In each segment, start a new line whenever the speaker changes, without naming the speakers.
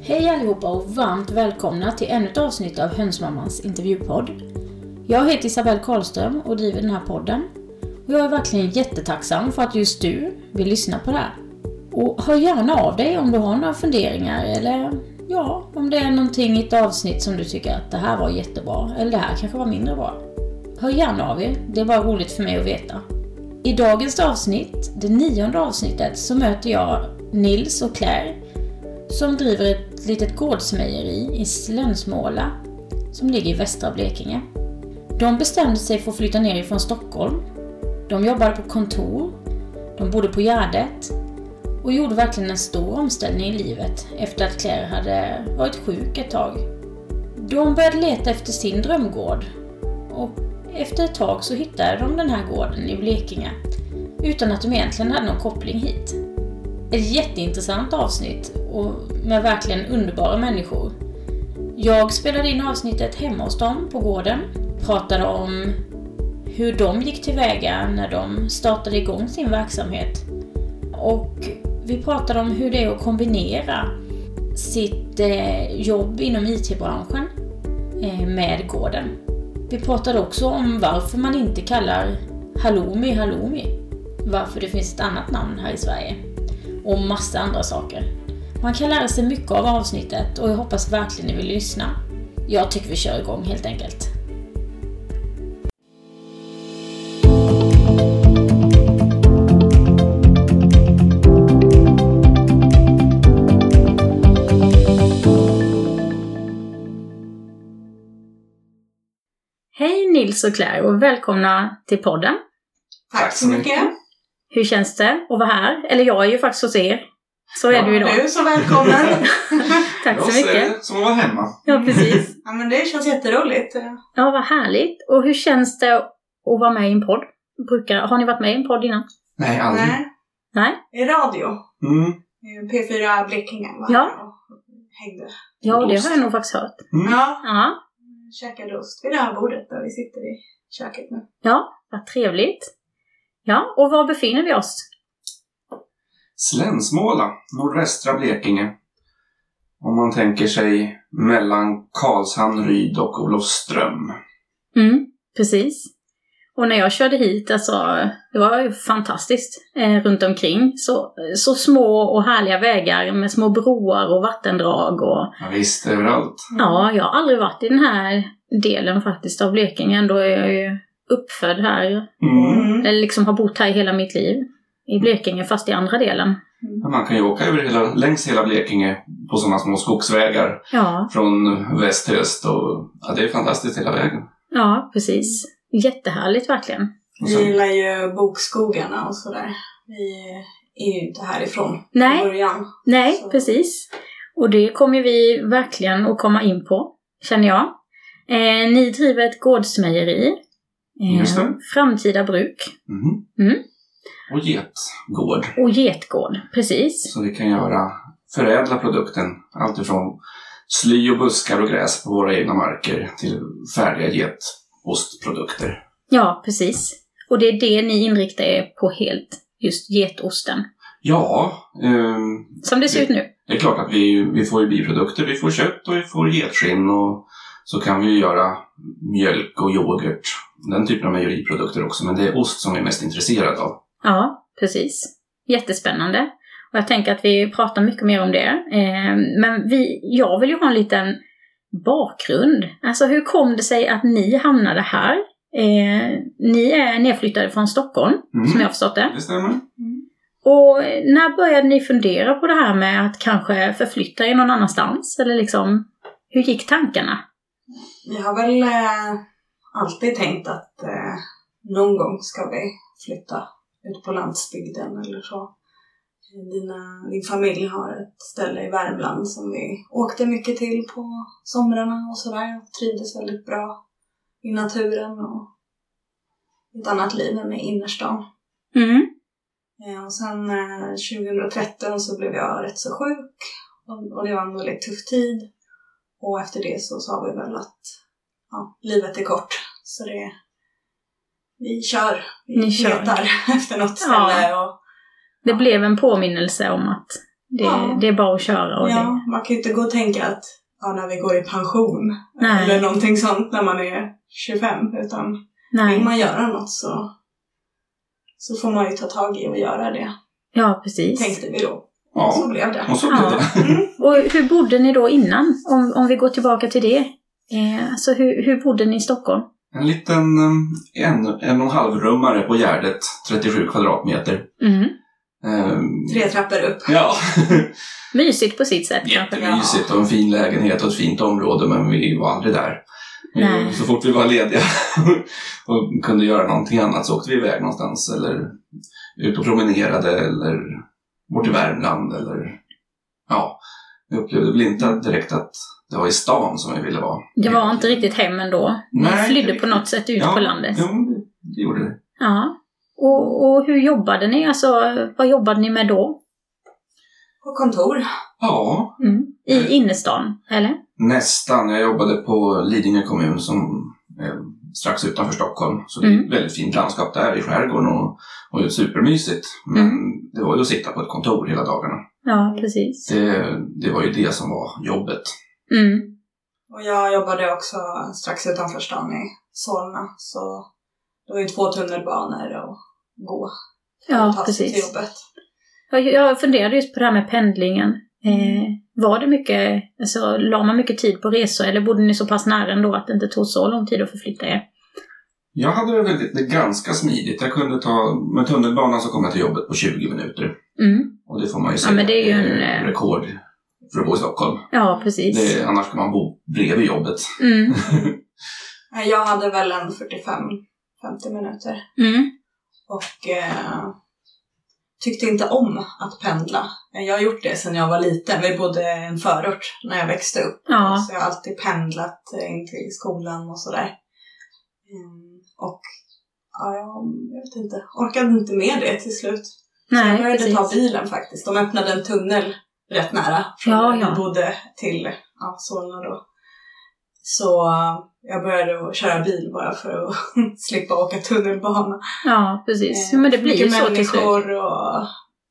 Hej allihopa och varmt välkomna till ännu ett avsnitt av Hönsmammans intervjupodd. Jag heter Isabelle Karlström och driver den här podden. Och jag är verkligen jättetacksam för att just du vill lyssna på det här. Och hör gärna av dig om du har några funderingar eller ja, om det är någonting i ett avsnitt som du tycker att det här var jättebra eller det här kanske var mindre bra. Hör gärna av er, det är bara roligt för mig att veta. I dagens avsnitt, det nionde avsnittet, så möter jag Nils och Claire som driver ett litet gårdsmejeri i Slönsmåla som ligger i västra Blekinge. De bestämde sig för att flytta ner ifrån Stockholm. De jobbade på kontor, de bodde på Gärdet och gjorde verkligen en stor omställning i livet efter att Claire hade varit sjuk ett tag. De började leta efter sin drömgård och efter ett tag så hittade de den här gården i Blekinge utan att de egentligen hade någon koppling hit. Ett jätteintressant avsnitt och med verkligen underbara människor. Jag spelade in avsnittet hemma hos dem på gården, pratade om hur de gick tillväga när de startade igång sin verksamhet och vi pratade om hur det är att kombinera sitt eh, jobb inom IT-branschen eh, med gården. Vi pratade också om varför man inte kallar halloumi halloumi, varför det finns ett annat namn här i Sverige och massa andra saker. Man kan lära sig mycket av avsnittet och jag hoppas verkligen ni vill lyssna. Jag tycker vi kör igång helt enkelt. Hej Nils och Claire och välkomna till podden.
Tack så mycket.
Hur känns det att vara här? Eller jag är ju faktiskt hos er. Så är
Ja,
du idag.
Du är så välkommen.
Tack så
Jag ser
mycket.
det Som att vara hemma.
Ja, precis.
ja, men det känns jätteroligt.
Ja, vad härligt. Och hur känns det att vara med i en podd? Brukar, har ni varit med i en podd innan?
Nej, aldrig.
Nej.
Nej?
I radio.
Mm.
P4 Blekinge var
Ja.
här och hängde.
Ja, det
Ost.
har jag nog faktiskt hört.
mm.
Ja.
Ja,
Käkade ost vid det här bordet där vi sitter i köket nu.
ja vad trevligt. Ja, och var befinner vi oss?
Slänsmåla, nordvästra Blekinge. Om man tänker sig mellan Karlshamn, Ryd och Olofström.
Mm, precis. Och när jag körde hit, alltså, det var ju fantastiskt eh, runt omkring. Så, så små och härliga vägar med små broar och vattendrag och
Ja, visst, överallt.
Mm.
Ja, jag har aldrig varit i den här delen faktiskt av Blekinge. Ändå är jag ju uppfödd här.
Mm.
Mm.
Eller liksom har bott här i hela mitt liv. I Blekinge, fast i andra delen.
Men Man kan ju åka över hela, längs hela Blekinge på sådana små skogsvägar
Ja,
från väst till öst. Och, ja, det är fantastiskt hela vägen.
ja precis. Jättehärligt verkligen.
Och
Vi
sen,
gillar ju bokskogarna och sådär. Vi är ju inte härifrån från
Nej,
början.
nej,
Så-
precis. Och det kommer vi verkligen att komma in på, känner jag. Eh, ni driver ett gårdsmejeri. Eh,
Just det.
Framtida bruk.
mm.
Mm.
Och getgård.
Och getgård, precis.
Så vi kan göra, förädla produkten alltifrån sly och buskar och gräs på våra egna marker till färdiga getostprodukter.
Ja, precis. Och det är det ni inriktar er på helt, just getosten.
Ja, ehm,
Som det ser ut nu.
det är klart att vi, vi får ju biprodukter. Vi får kött och vi får getskinn och så kan vi ju göra mjölk och yoghurt. Den typen av mejeriprodukter också, men det är ost som vi är mest intresserade av.
Ja, precis. Jättespännande. Och jag tänker att vi pratar mycket mer om det. Eh, Men vi, jag vill ju ha en liten bakgrund. Alltså hur kom det sig att ni hamnade här? Eh, ni är nedflyttade från Stockholm, som jag har förstått det.
Det stämmer.
Och när började ni fundera på det här med att kanske förflytta er någon annanstans? Eller liksom, hur gick tankarna?
Vi har väl eh, alltid tänkt att eh, någon gång ska vi flytta ut på landsbygden eller så. Dina, din familj har ett ställe i Värmland som vi åkte mycket till på somrarna och sådär. Trivdes väldigt bra i naturen och ett annat liv än i innerstan.
Mm.
Eh, Och sen eh, 2013 så blev jag rätt så sjuk och- och det var en väldigt tuff tid. Och efter det så sa vi väl att ja, livet är kort. Så det, vi kör. Vi
Ni kör.
letar efter något ställe. Och,
Det blev en påminnelse om att Det,
Ja.
det är bara att köra och
Ja,
det.
man kan ju inte gå och tänka att ja, när vi går i pension
Nej.
eller någonting sånt när man är 25. Utan vill
Nej.
man göra något så, så får man ju ta tag i och göra det.
Ja, precis.
Tänkte vi då. Så
Ja,
blev det.
och så blev det.
Mm.
Och hur bodde ni då innan? Om, om vi går tillbaka till det. Eh, alltså hur, hur bodde ni i Stockholm?
En liten eh, en, en och en halv rummare på Gärdet, 37 kvadratmeter.
Mm.
Ehm,
Tre trappor upp.
Ja,
Mysigt på sitt sätt kanske.
jättemysigt och en fin lägenhet och ett fint område men vi var aldrig där. Vi-
Nej.
Så fort vi var lediga och kunde göra någonting annat så åkte vi iväg någonstans eller ut och promenerade eller bort till Värmland eller ja, vi upplevde väl inte att- direkt att det var i stan som vi ville vara.
Det var inte riktigt hem ändå. Ni
Nej,
flydde
det-
på något sätt ut
Ja,
på landet.
Ja, men det gjorde det.
Ja. Och, och hur jobbade ni? Alltså, vad jobbade ni med då?
På kontor.
Ja,
Mm. I innerstan, eller?
Nästan. Jag jobbade på Lidingö kommun som eh, strax utanför Stockholm. Så det är
Mm.
ett väldigt fint landskap där i skärgården och, och supermysigt. Men
Mm.
det var ju att sitta på ett kontor hela dagarna.
Ja, precis.
Det, det var ju det som var jobbet.
Mm.
Och jag jobbade också strax utanför stan i Solna. Så det var ju två tunnelbanor och gå. och
Ja,
ta sig till
precis.
jobbet.
Jag, jag funderade just på det här med pendlingen. Eh, var det mycket, alltså la man mycket tid på resor eller bodde ni så pass nära ändå att det inte tog så lång tid att förflytta er?
Jag hade det, väldigt, det ganska smidigt. Jag kunde ta, med tunnelbanan så kom jag till jobbet på 20 minuter.
Mm.
Och det får man ju säga
men det är ju en,
eh,
eh,
rekord för att bo i Stockholm.
Ja, precis.
Det, annars kan man bo bredvid jobbet.
Mm.
Nej, Jag hade väl en 45-50 minuter.
Mm.
Och eh, tyckte inte om att pendla. Jag har gjort det sedan jag var liten. Vi bodde i en förort när jag växte upp.
Ja.
Så jag har alltid pendlat eh, in till skolan och sådär. Mm, och ja, jag, jag vet inte, orkade inte med det till slut. Så jag
Nej,
började ta
precis.
bilen faktiskt. De öppnade en tunnel rätt nära från
Ja,
där vi
ja.
bodde till ja, Solna då. Så eh, jag började att köra bil bara för att slippa åka tunnelbana.
Ja, precis.
Eh,
Men det blir ju
mycket
så till slut.
människor och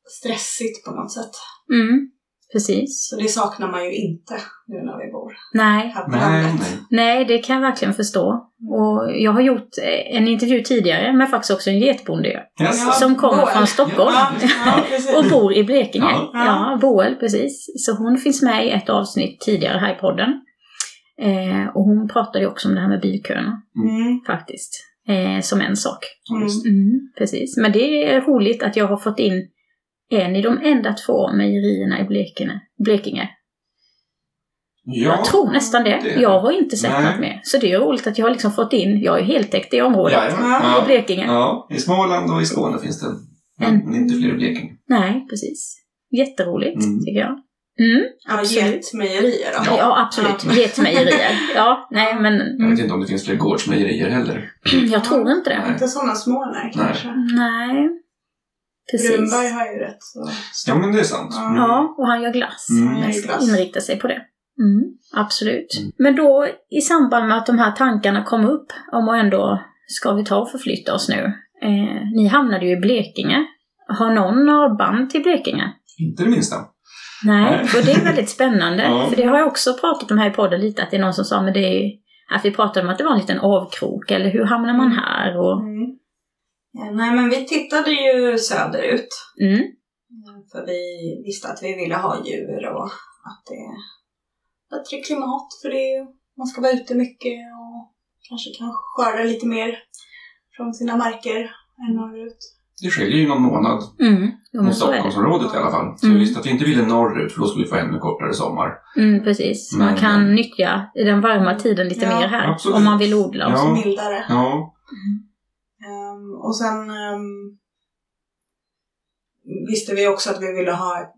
stressigt på något sätt.
Mm. Precis.
Så det saknar man ju inte nu när vi bor
Nej.
här på
Nej,
landet.
nej.
Nej, det kan jag verkligen förstå. Och jag har gjort eh, en intervju tidigare med faktiskt också en getbonde
Yes.
Ja.
som kommer
Boel.
från Stockholm
Ja, ja, precis.
och bor i Blekinge.
Ja.
Ja, Boel, precis. Så hon finns med i ett avsnitt tidigare här i podden. Eh, och hon pratade ju också om det här med bilköerna
Mm.
faktiskt, eh, som en sak.
Mm.
Mm, precis, men det är roligt att jag har fått in en i de enda två mejerierna i Blekinge. Blekinge.
Ja.
Jag tror nästan det.
Det-
Jag har inte sett
Nej.
något mer. Så det är roligt att jag har liksom fått in, jag är heltäckt i området.
Ja,
I Blekinge.
Ja, i Småland och i Skåne finns det. Men
En.
inte fler i Blekinge.
Nej, precis. Jätteroligt,
Mm.
tycker jag. Mm, absolut.
Getmejerier då.
Ja, absolut. Getmejerier. Ja, nej men
Jag vet
mm,
inte om det finns fler gårdsmejerier heller.
jag tror inte det.
Inte sådana små nej kanske.
Nej, precis.
Brunberg har ju rätt så
Ja, men det är sant.
Ja.
Mm.
Ja, och han gör glass.
Mm.
Han
Han gör glass.
inriktar sig på det. Mm, absolut.
Mm.
Men då i samband med att de här tankarna kom upp om att ändå ska vi ta och förflytta oss nu. Eh, ni hamnade ju i Blekinge. Har någon några band till Blekinge?
Inte det minsta.
Nej,
Nej.
och det är väldigt spännande.
Ja.
För det har jag också pratat om här i podden lite, att det är någon som sa men det är, att vi pratade om att det var en liten avkrok, eller hur hamnar man här? Och,
Mm. Ja, nej, men vi tittade ju söderut.
mm,
För vi visste att vi ville ha djur och att det är bättre klimat för det. Man ska vara ute mycket och kanske kan skörda lite mer från sina marker än norrut.
Det skiljer ju någon månad
mm, jo, men
mot
så är det.
Stockholmsområdet i alla fall. Så
Mm.
vi visste att vi inte ville norrut för då skulle vi få ännu kortare sommar.
Mm, precis. Man
Men-
kan nyttja den varma tiden lite
Ja,
mer här,
absolut.
om man vill odla. och
Ja.
så.
Mildare.
Ja,
Ehm, och sen ehm, visste vi också att vi ville ha en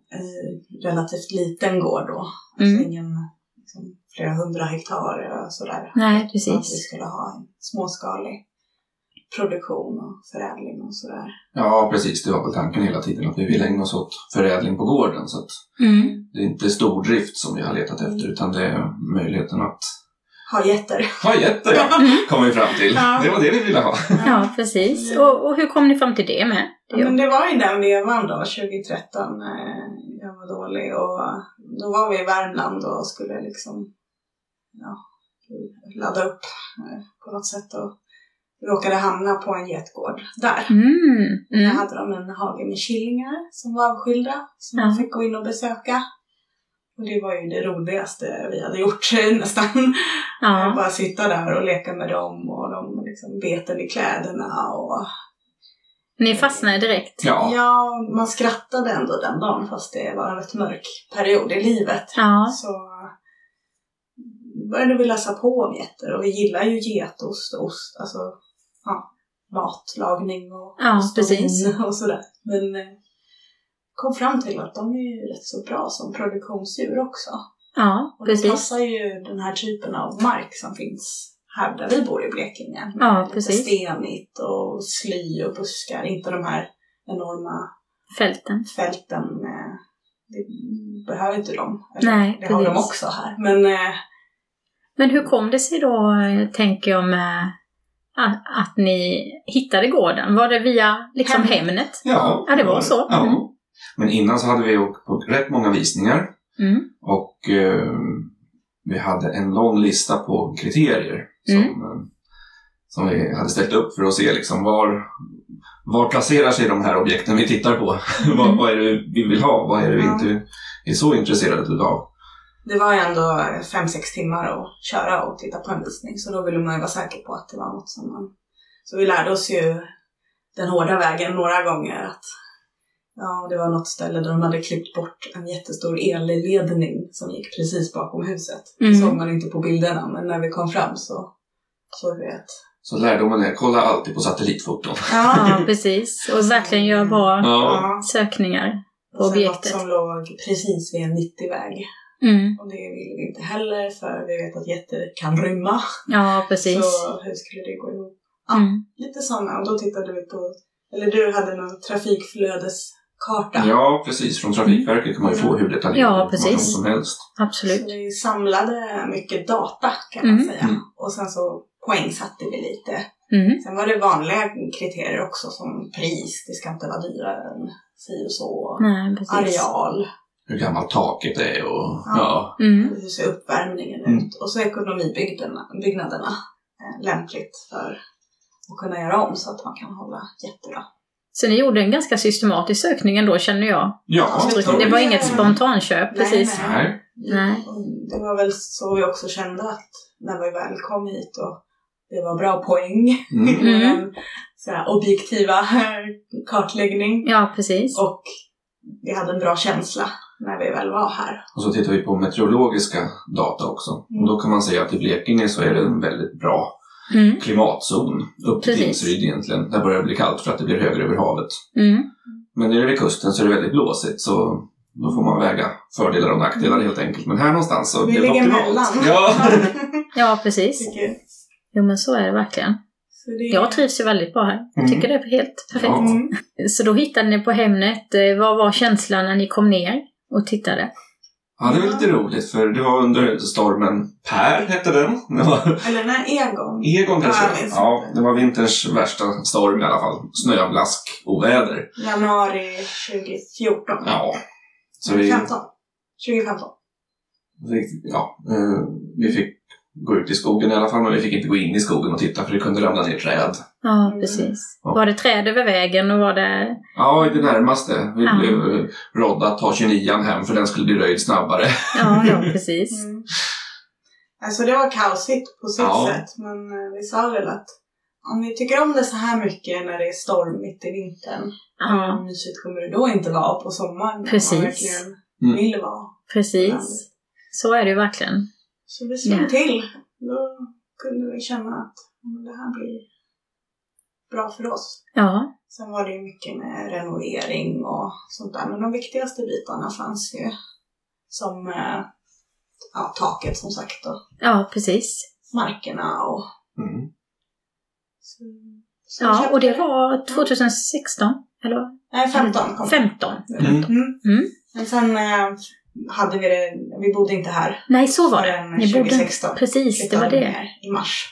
relativt liten gård då.
Mm.
Alltså ingen liksom, flera hundra hektar och sådär.
Nej,
Att vi
precis.
skulle ha en småskalig produktion och förädling och sådär.
ja, precis. Det var väl tanken hela tiden att vi ville ägna oss åt förädling på gården. Så att
Mm.
det är inte stordrift som vi har letat efter utan det är möjligheten att
ha getter.
Ha getter, ja. Kom vi fram till.
Ja.
Det var det vi ville ha.
Ja, precis. Och, och hur kom ni fram till det med?
Ja, Men det var i den vevan då, 2013. eh, Jag var dålig och då var vi i Värmland och skulle liksom ja, ladda upp eh, på något sätt och råkade hamna på en getgård där.
Mm,
Där
mm.
hade de en hage med killingar som var avskilda som
Ja.
man fick gå in och besöka. Och det var ju det roligaste vi hade gjort nästan.
Ja.
Bara sitta där och leka med dem och de liksom beten i kläderna och
Ni fastnade direkt.
Ja.
Ja, man skrattade ändå den dagen fast det var en rätt mörk period i livet.
Ja.
Så började vi läsa på om getter och vi gillar ju getost och ost, alltså ja, matlagning och
Ja,
ost och
precis.
vin och sådär. Men eh, kom fram till att de är ju rätt så bra som produktionsdjur också.
Ja,
Och det
precis.
passar ju den här typen av mark som finns här där vi bor i Blekinge. Med
Ja,
lite
precis.
stenigt och sly och buskar, inte de här enorma
Fälten.
fälten, eh, det behöver inte de.
Nej,
det har de
precis.
också här. Men eh,
Men hur kom det sig då, eh, tänker jag, med att, att ni hittade gården? Var det via liksom
Hem.
Hemnet?
Ja,
Ja, det var så.
Ja.
Mm.
Men innan så hade vi åkt på rätt många visningar.
Mm.
Och eh, vi hade en lång lista på kriterier som,
Mm.
eh, som vi hade ställt upp för att se liksom var, var placerar sig de här objekten vi tittar på.
Mm.
vad, vad är det vi vill ha? Vad är det vi
Ja.
inte är så intresserade utav?
det var ju ändå fem sex timmar att köra och titta på en visning så då ville man ju vara säker på att det var något som man... Så vi lärde oss ju den hårda vägen några gånger att ja, det var något ställe där de hade klippt bort en jättestor elledning som gick precis bakom huset.
Mm.
Det såg man inte på bilderna men när vi kom fram så såg vi att...
Så lärdomen är kolla alltid på satellitfoton.
Ja, precis. Och verkligen göra bra
Ja.
sökningar.
Och sen något
objektet.
som låg precis vid en 90-väg.
Mm.
Och det vill vi inte heller för vi vet att getter kan rymma.
Ja, precis.
Så hur skulle det gå ihop? ja.
Mm.
Lite sådana. Och då tittade vi på, eller du hade någon trafikflödeskarta.
Ja, precis. Från Trafikverket kan man ju få hur detaljerad
Ja,
information
precis.
som helst.
Absolut.
Så vi samlade mycket data kan man
Mm.
säga.
Mm.
Och sen så poängsatte vi lite.
Mm.
Sen var det vanliga kriterier också som pris, det ska inte vara dyrare än si och så.
Nej, Mm, precis.
Areal,
Hur gammalt taket är och
Ja.
ja.
Mm.
hur ser uppvärmningen
Mm.
ut? Och så ekonomibyggnaderna byggnaderna, eh, lämpligt för att kunna göra om så att man kan hålla jättebra.
Så ni gjorde en ganska systematisk sökning ändå, känner jag.
Ja,
Absolut.
så-
Det var
Ja.
inget spontanköp,
Nej,
precis.
Nej.
Nej.
Och Det var väl så vi också kände att när vi väl kom hit och det var bra poäng
Mm.
i
Mm.
den så här objektiva kartläggning.
Ja, precis.
Och vi hade en bra känsla när vi väl var här.
Och så tittar vi på meteorologiska data också.
Mm.
Och då kan man säga att i Blekinge så är det en väldigt bra
Mm.
klimatzon upp till
Precis.
Tingsryd egentligen. Där börjar det bli kallt för att det blir högre över havet.
Mm.
Men nere vid kusten så är det väldigt blåsigt så då får man väga fördelar och
Mm.
nackdelar helt enkelt. Men här någonstans så
Vi
blir det
ligger
optimalt.
mellan.
Ja.
Ja, precis.
Tycker jag.
Jo, men så är det verkligen.
Så det-
Jag trivs ju väldigt bra här. Jag tycker det är helt perfekt.
Mm. Ja.
Mm.
Så då hittade ni på Hemnet. Eh, Vad var känslan när ni kom ner och tittade?
ja, det var lite roligt för det var under stormen Per hette den. Det var
Eller nej, Egon.
Egon kanske.
Ja, jag minns
Ja,
inte.
det var vinterns värsta storm i alla fall. Snöblask, oväder.
Januari 2014.
Ja. Så vi,
2015. 2015.
vi- ja, eh, vi fick gå ut i skogen i alla fall men vi fick inte gå in i skogen och titta för det kunde ramla ner träd.
Ja,
Mm.
precis.
Ja.
Var det träd över vägen och var det...
Ja, i det närmaste. Vi
Ja.
blev eh, rådda att ta 29an hem för den skulle bli röjd snabbare.
Ja, ja, precis.
Mm. Alltså det var kaosigt på sitt
Ja.
sätt. Men eh, vi sa väl att om vi tycker om det så här mycket när det är stormigt i vintern.
Ja,
Hur mysigt kommer det då inte vara på sommaren? när
Precis.
Man verkligen
Mm.
vill vara.
precis. Så är det ju verkligen.
Så vi slog
Ja.
till. Då kunde vi känna att "Mm, det här blir bra för oss.
Ja,
Sen var det ju mycket med renovering och sånt där. Men de viktigaste bitarna fanns ju. Som eh, ja, taket som sagt och
ja precis.
markerna och
Mm.
Så, så vi
Ja,
köpte
och det var 2016, eller vad?
Nej, 15 kom det.
15.
Mm.
Mm.
Mm.
Men sen eh, hade vi det, vi bodde inte här
Nej, så var det.
förrän
Ni bodde...
2016.
Precis, det var
Flyttade
det.
ner I mars.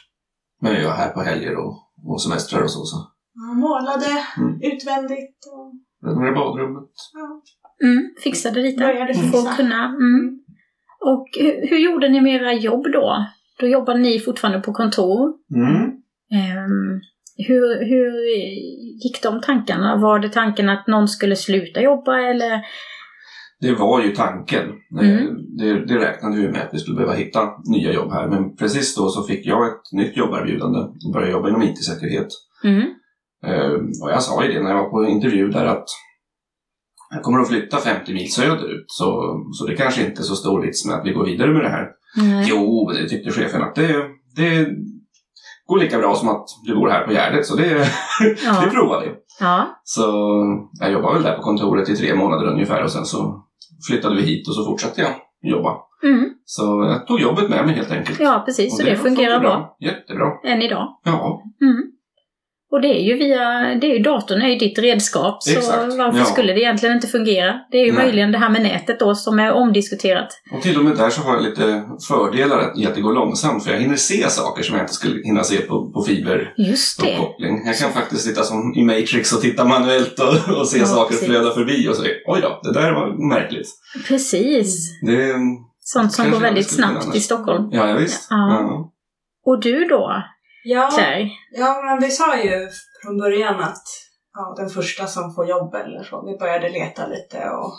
Men jag är här på helger och, och semestrar och så. så.
Ja, målade
Mm.
utvändigt och
Renoverade badrummet.
ja,
Mm, fixade lite.
började
För
fixa.
att kunna. Mm. Och hur, hur gjorde ni med era jobb då? Då jobbade ni fortfarande på kontor.
Mm.
Ehm, hur, hur gick de tankarna? Var det tanken att någon skulle sluta jobba eller?
Det var ju tanken.
Mm.
Eh, Det, det räknade vi med att vi skulle behöva hitta nya jobb här. Men precis då så fick jag ett nytt jobberbjudande och började jobba inom IT-säkerhet.
Mm.
Eh, och jag sa ju det när jag var på intervju där att jag kommer att flytta 50 mil söderut så, så det kanske inte är så stor vits med att vi går vidare med det här.
Nej.
Jo, det tyckte chefen att det, det går lika bra som att du bor här på Gärdet så det, vi
Ja.
provar det.
ja.
Så jag jobbade väl där på kontoret i tre månader ungefär och sen så flyttade vi hit och så fortsatte jag jobba.
Mm.
Så jag tog jobbet med mig helt enkelt.
ja, precis.
Och
Så det, fungerar
funkar
bra.
Jättebra.
Än idag.
Ja,
Mm. Och det är ju via, det är ju datorn är ju ditt redskap. Så
Exakt,
varför
ja.
skulle det egentligen inte fungera? Det är ju
Nej.
möjligen det här med nätet då som är omdiskuterat.
och till och med där så har jag lite fördelar i att det går långsamt för jag hinner se saker som jag inte skulle hinna se på, på fiber.
Just det.
Uppkoppling. Jag kan faktiskt sitta som i Matrix och titta manuellt och, och se
Ja,
saker
precis.
flöda förbi och säga oj då, det där var märkligt.
Precis.
Mm.
Det,
Sånt som
Kanske
går
man
väldigt
skulle kunna
snabbt i
annars.
Stockholm.
ja, ja, visst.
Ja.
Ja.
Och du då,
Ja,
Claire?
Ja, men vi sa ju från början att ja, den första som får jobb eller så, vi började leta lite och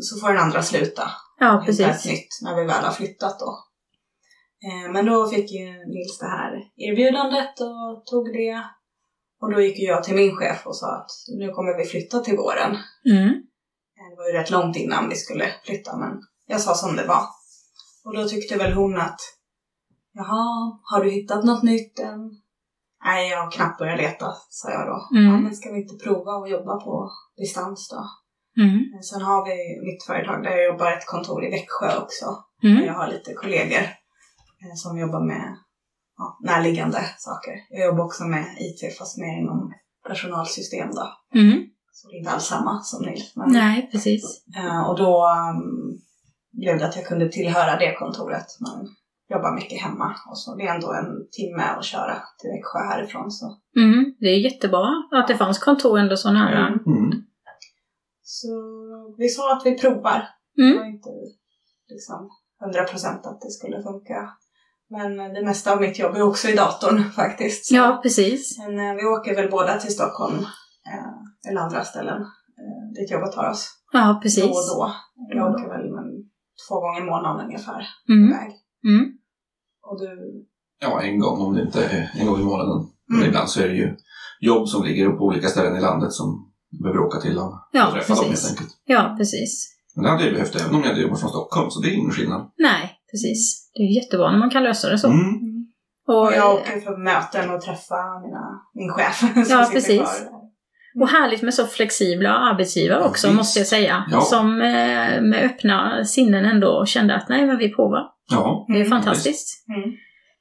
så får den andra sluta.
Ja,
och hitta ett
precis.
nytt när vi väl har flyttat då. Eh, Men då fick ju Nils det här erbjudandet och tog det. Och då gick ju jag till min chef och sa att nu kommer vi flytta till våren.
Mm.
Eh, Det var ju rätt långt innan vi skulle flytta men jag sa som det var. Och då tyckte väl hon att Jaha, har du hittat något nytt än? Nej, jag har knappt börjat leta, sa jag då.
Mm.
Ja, men ska vi inte prova att jobba på distans då?
Mm.
Eh, Sen har vi mitt företag där jag jobbar, ett kontor i Växjö också.
Mm.
Jag har lite kollegor eh, som jobbar med ja, närliggande saker. Jag jobbar också med IT fast mer inom personalsystem då.
Mm.
Så det är inte alls samma som Nils. Men,
Nej, precis.
Eh, och då um, blev det att jag kunde tillhöra det kontoret. Man jobbar mycket hemma och så. Det är ändå en timme att köra till Växjö härifrån. Så,
Mm. Det är jättebra att det fanns kontor ändå så nära.
Mm.
Mm.
så vi sa att vi provar. Det
Mm.
var inte liksom 100 procent att det skulle funka. Men eh, det mesta av mitt jobb är också i datorn faktiskt.
Ja, precis.
Men eh, vi åker väl båda till Stockholm eh, eller andra ställen eh, dit jobbet tar oss.
Ja,
Då och
precis.
då.
Då
Jag
och då.
åker väl mm, två gånger i månaden ungefär.
Mm.
iväg.
Mm.
Och du...
ja, en gång om det inte är en gång i månaden. Men
Mm.
ibland så är det ju jobb som ligger på olika ställen i landet som vi behöver åka till och
Ja,
träffa dem helt
precis.
enkelt.
Ja, precis.
Men det hade jag behövt även om jag hade jobbat från Stockholm, så det är ingen skillnad.
Nej, precis. Det är jättebra när man kan lösa det så.
Mm.
Och, eh,
Och jag åker för möten och träffar mina, min chef. Som sitter
precis.
kvar.
och härligt med så flexibla arbetsgivare
Ja,
också,
visst.
måste jag säga.
Ja.
Som eh, med öppna sinnen ändå kände att nej, men vi provar.
Ja.
Det är
Mm.
fantastiskt.
Mm.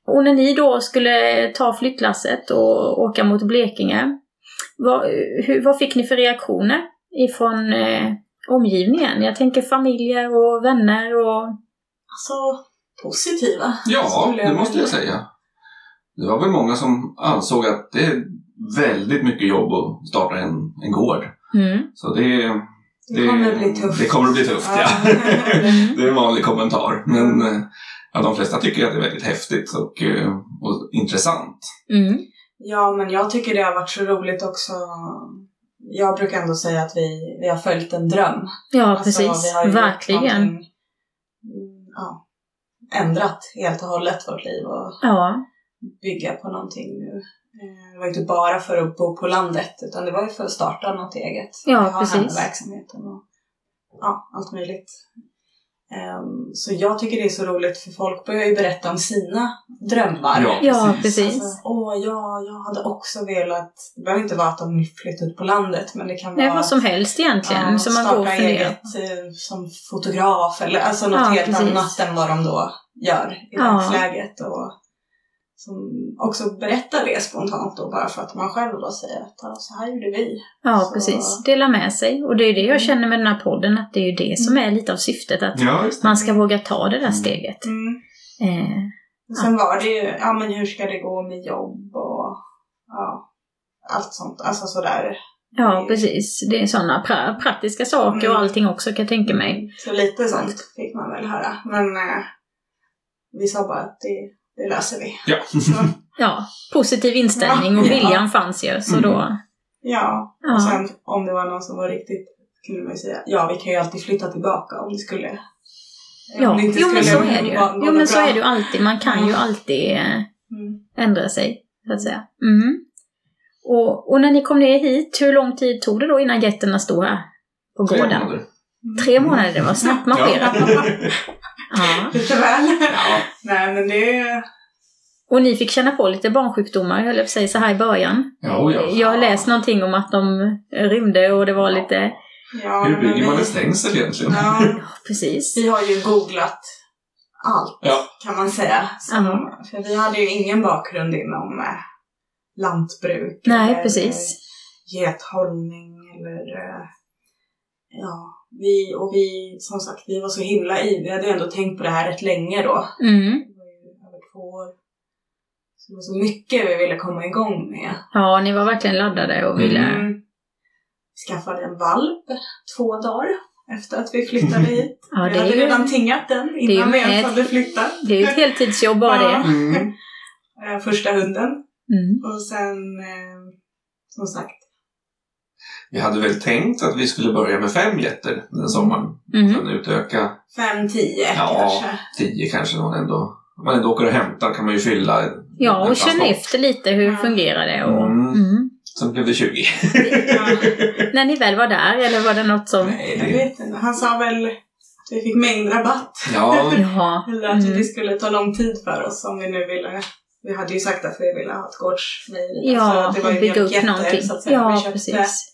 Och när ni då skulle ta flyttlasset och åka mot Blekinge, vad, hur, vad fick ni för reaktioner ifrån eh, omgivningen? Jag tänker familjer och vänner och...
Alltså, positiva.
ja,
skulle
det
jag
måste
vilja.
jag säga. Det var väl många som ansåg att det är väldigt mycket jobb att starta en, en gård.
Mm.
Så det,
Det kommer bli tufft.
Det kommer att bli tufft, ja.
Mm.
det är en vanlig kommentar. Men
Mm.
eh, ja, de flesta tycker att det är väldigt häftigt och, eh, och intressant.
Mm.
ja, men jag tycker det har varit så roligt också. Jag brukar ändå säga att vi, vi har följt en dröm.
Ja,
Alltså,
precis.
vi har ju gjort
Verkligen.
någonting, mm, Ja, ändrat helt och hållet vårt liv och
Ja.
bygga på någonting nu. Eh, Det var ju inte bara för att bo på landet utan det var ju för att starta något eget.
Ja,
ha
precis.
verksamheten och ja, allt möjligt. Ehm, så jag tycker det är så roligt för folk börjar ju berätta om sina drömmar.
Ja,
ja,
precis.
precis.
Alltså, åh ja, jag hade också velat, det behöver inte vara att de vill flytta ut på landet men det kan
Nej,
vara
vad som helst egentligen
ja,
som man går
starta
och funderar på.
eget eh, som fotograf eller alltså något
Ja,
helt
precis.
annat än vad de då gör i
Ja.
dagsläget. Och, som också berättar det spontant då bara för att man själv då säger att "Ja, så här gjorde vi.
Ja,
Så- Mm.
precis. Dela med sig. Och det är ju det jag känner med den här podden, att det är ju det som är lite av syftet, att
Ja, just det.
man ska våga ta det där
Mm.
steget.
Mm.
Eh,
Och sen var det ju, ja men hur ska det gå med jobb och ja, allt sånt. Alltså sådär.
ja, precis. Det är sådana pra- praktiska saker och
Mm.
allting också kan jag tänka mig.
Så lite sånt fick man väl höra. Men eh, vi sa bara att det, det löser vi.
Ja.
Så,
Ja, positiv inställning
Ja.
och viljan fanns ju, så då...
ja.
Ja.
Och sen om det var någon som var riktigt kunde man ju säga, ja vi kan ju alltid flytta tillbaka om det skulle.
Ja. Jo, men så är det ju. Jo, men så är det ju
ju.
alltid. Man kan ju
Ja.
alltid eh,
Mm.
ändra sig, så att säga. Mm. Och, och när ni kom ner hit, hur lång tid tog det då innan getterna stod här på
Tre
gården?
månader.
Tre månader, det var snabbt marscherat.
Ja.
Ja.
Lite väl.
ja.
Nej men det är
Och ni fick känna på lite barnsjukdomar, jag höll jag på att säga så här i början.
Ja, och ja.
Jag har läst någonting om att de rymde och det var lite...
Ja,
Hur
men
bygger man
vi-
en stängsel egentligen?
Ja,
Precis.
vi har ju googlat allt
Ja.
kan man säga. Så,
Ja.
För vi hade ju ingen bakgrund inom eh, lantbruk.
Nej,
eller,
precis.
eh, Gethållning eller eh, ja, vi, och vi som sagt, vi var så himla i. Vi hade ju ändå tänkt på det här rätt länge då.
Mm.
Det var ju över två år. Så det var så mycket vi ville komma igång med.
Ja, ni var verkligen laddade och ville...
Mm.
Skaffade en valp två dagar efter att vi flyttade hit.
Ja, det
vi
är
hade redan
ju,
tingat den
ju
innan vi ens
med-
hade flyttat.
det är ju ett heltidsjobb bara det.
Ja.
Mm.
Eh, Första hunden.
Mm.
Och sen, eh, som sagt.
Vi hade väl tänkt att vi skulle börja med fem getter den sommaren.
Mm.
Sen utöka
fem tio
Ja.
kanske.
tio kanske. Om man ändå, om man ändå åker och hämtar kan man ju fylla. en-
Ja,
en
och känna
transport.
efter lite hur
Ja.
fungerar det och...
Mm.
Mm.
Sen blev det 20.
Ja,
När ni väl var där, eller var det något som...
Nej,
jag
det,
vet inte. Han sa väl att vi fick mängdrabatt.
ja,
Ja.
Eller att
Mm.
det skulle ta lång tid för oss om vi nu ville. Vi hade ju sagt att vi ville ha ett gårdsmejeri.
Ja,
det var ju
bygga upp
mjölkjätter,
någonting.
Så att säga. vi
Ja,
köpte,
precis.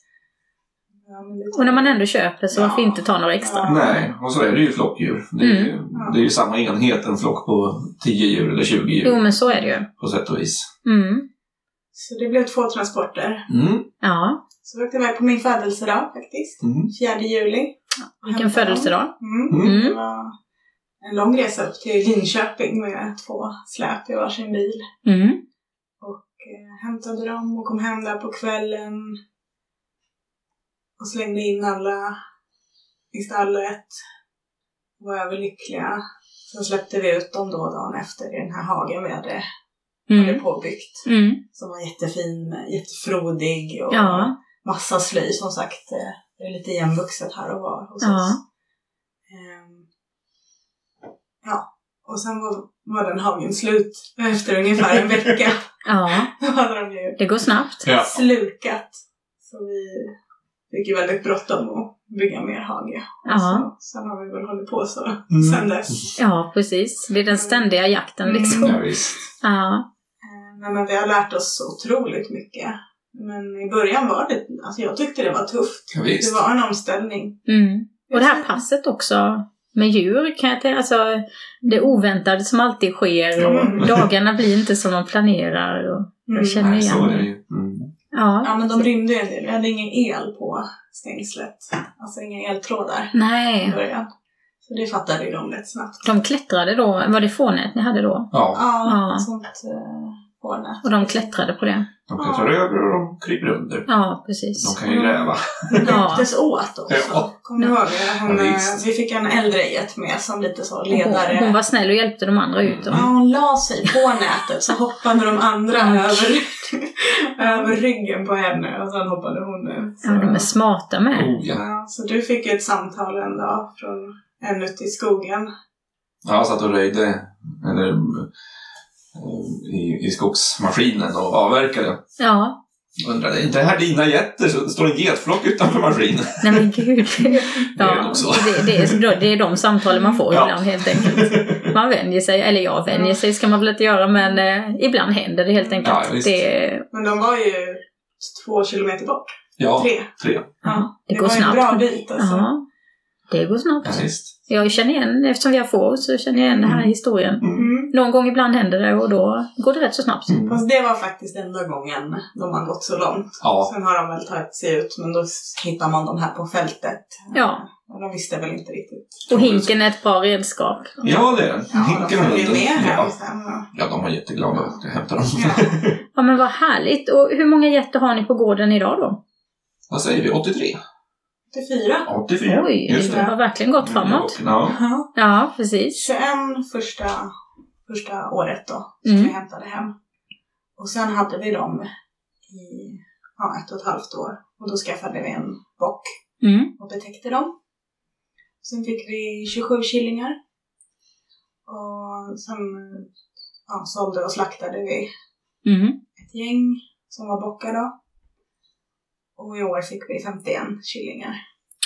Ja, men det-
Och när man ändå köper så
Ja.
varför inte ta några extra?
Ja.
nej, och så är det ju flockdjur. Det är, ju,
Mm.
det är ju samma enhet, en flock på 10 djur eller 20 djur
Jo, men så är det ju.
på sätt och vis.
Mm.
Så det blev två transporter.
Mm.
Ja,
Så vi åkte iväg på min födelsedag faktiskt.
Mm.
4 juli.
vilken födelsedag.
Mm.
Mm.
Det
Mm.
var en lång resa upp till Linköping med två släp i varsin bil.
Mm.
Eh, Hämtade dem och kom hem där på kvällen. Och slängde in alla i stallet. Var överlyckliga. Sen släppte vi ut dem då dagen efter i den här hagen vi hade, hade
Mm.
påbyggt.
Mm.
Som var jättefin, med- jättefrodig och
Ja.
massa sly som sagt. eh, Det är lite igenvuxet här och var hos
Ja.
oss. Ehm, ja, och sen var, var den hagen slut efter ungefär en vecka.
Ja,
Då hade de ju
det går snabbt.
Ja.
slukat. Så vi fick ju väldigt bråttom att bygga mer hage.
Ja.
Så, sen har vi väl hållit på så
Mm.
sen dess.
Ja, precis. Det är den ständiga jakten
Mm.
liksom.
Ja, visst.
Ja.
Mm.
Eh, Nej, men vi har lärt oss otroligt mycket. Men i början var det, alltså jag tyckte det var tufft.
Ja,
Det
visst.
var en omställning.
Mm. Och det här passet också med djur kan jag tänka, alltså det oväntade som alltid sker och
Mm.
dagarna blir inte som man planerar. Och,
Mm.
jag känner
Nej, så
igen
är det
det.
ju. Mm.
Ja.
Ja men de rymde ju en del. Vi hade ingen el på stängslet. Alltså inga eltrådar. i
Nej,
början. Så det fattade ju de rätt snabbt.
de klättrade då, var det fånät ni hade då?
Ja,
Ja,
Ja.
sånt eh, hårnät.
Och de klättrade på det?
de klättrar över och de kryper under.
Ja, precis.
De kan ju gräva.
De hjälptes åt också.
Ja.
Kommer du ihåg? Hon,
Ja,
eh,
visst.
vi fick en äldre get med som lite så
Hon,
ledare.
hon var snäll och hjälpte de andra ut.
Ja,
Dem.
hon la sig på nätet så hoppade de andra
Mm.
över, över ryggen på henne och sen hoppade hon ut. Så,
Ja, de är smarta med.
Oh, ja.
Ja, så du fick ju ett samtal en dag från en ute i skogen.
Ja, jag satt och röjde eller, eh, i, i skogsmaskinen och avverkade.
Ja,
Undrade, är inte det här dina getter? Så det står en getflock utanför maskinen.
nej men gud.
Det är nog så.
det, det, är, det är de samtalen man får
Ja.
ibland helt enkelt. Man vänjer sig, eller jag vänjer sig ska man väl inte göra men eh, ibland händer det helt enkelt.
Ja, visst.
det,
Men de var ju två kilometer bort.
Ja,
Tre.
tre.
ja, det,
det
går
var ju en
snabbt.
bra bit alltså.
Ja, det går
Ja,
snabbt.
visst.
Jag känner igen, eftersom vi har får så känner jag igen den här
Mm.
historien.
Mm.
Någon gång ibland händer det och då går det rätt så snabbt.
Mm.
Fast det var faktiskt enda gången de har gått så långt.
Ja,
Sen har de väl tagit sig ut, men då hittar man dem här på fältet.
Ja.
Och De visste väl inte riktigt.
Och hinken är ett bra redskap.
ja det är den.
Ja, alltså, de
Hinken och
följde
hunden.
med här
Ja.
sen. och-
ja, de var jätteglada att jag hämtade dem.
Ja.
Ja men vad härligt. Och hur många getter har ni på gården idag då?
Vad säger vi? 83?
Till fyra.
84.
Oj,
Just
det
det.
har verkligen gått framåt.
Ja.
Ja.
Ja, precis.
21 första, första året då, som
Mm.
vi hämtade hem. Och sen hade vi dem i ja, ett och ett halvt år. Och då skaffade vi en bock
Mm.
och betäckte dem. Sen fick vi 27 killingar. Och sen ja, sålde och slaktade vi
Mm.
ett gäng som var bockar då. Och i år fick vi 51 killingar.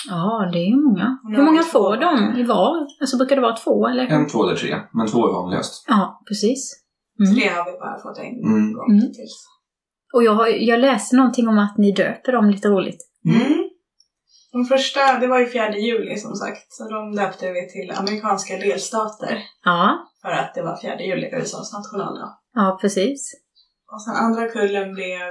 Ja, det är ju många.
Och nu
Hur
har
många
vi två
får de i var? Alltså brukar det vara två eller?
En, två eller tre, men två är vanligast.
Ja, precis. Mm.
Tre har vi bara fått en
Mm.
gång
Mm.
tills.
Och jag, har, jag läste någonting om att ni döper dem lite roligt.
Mm. De första, det var ju fjärde juli som sagt, så de döpte vi till amerikanska delstater
Ja,
för att det var fjärde juli, USAs nationaldag.
ja precis.
Och sen andra kullen blev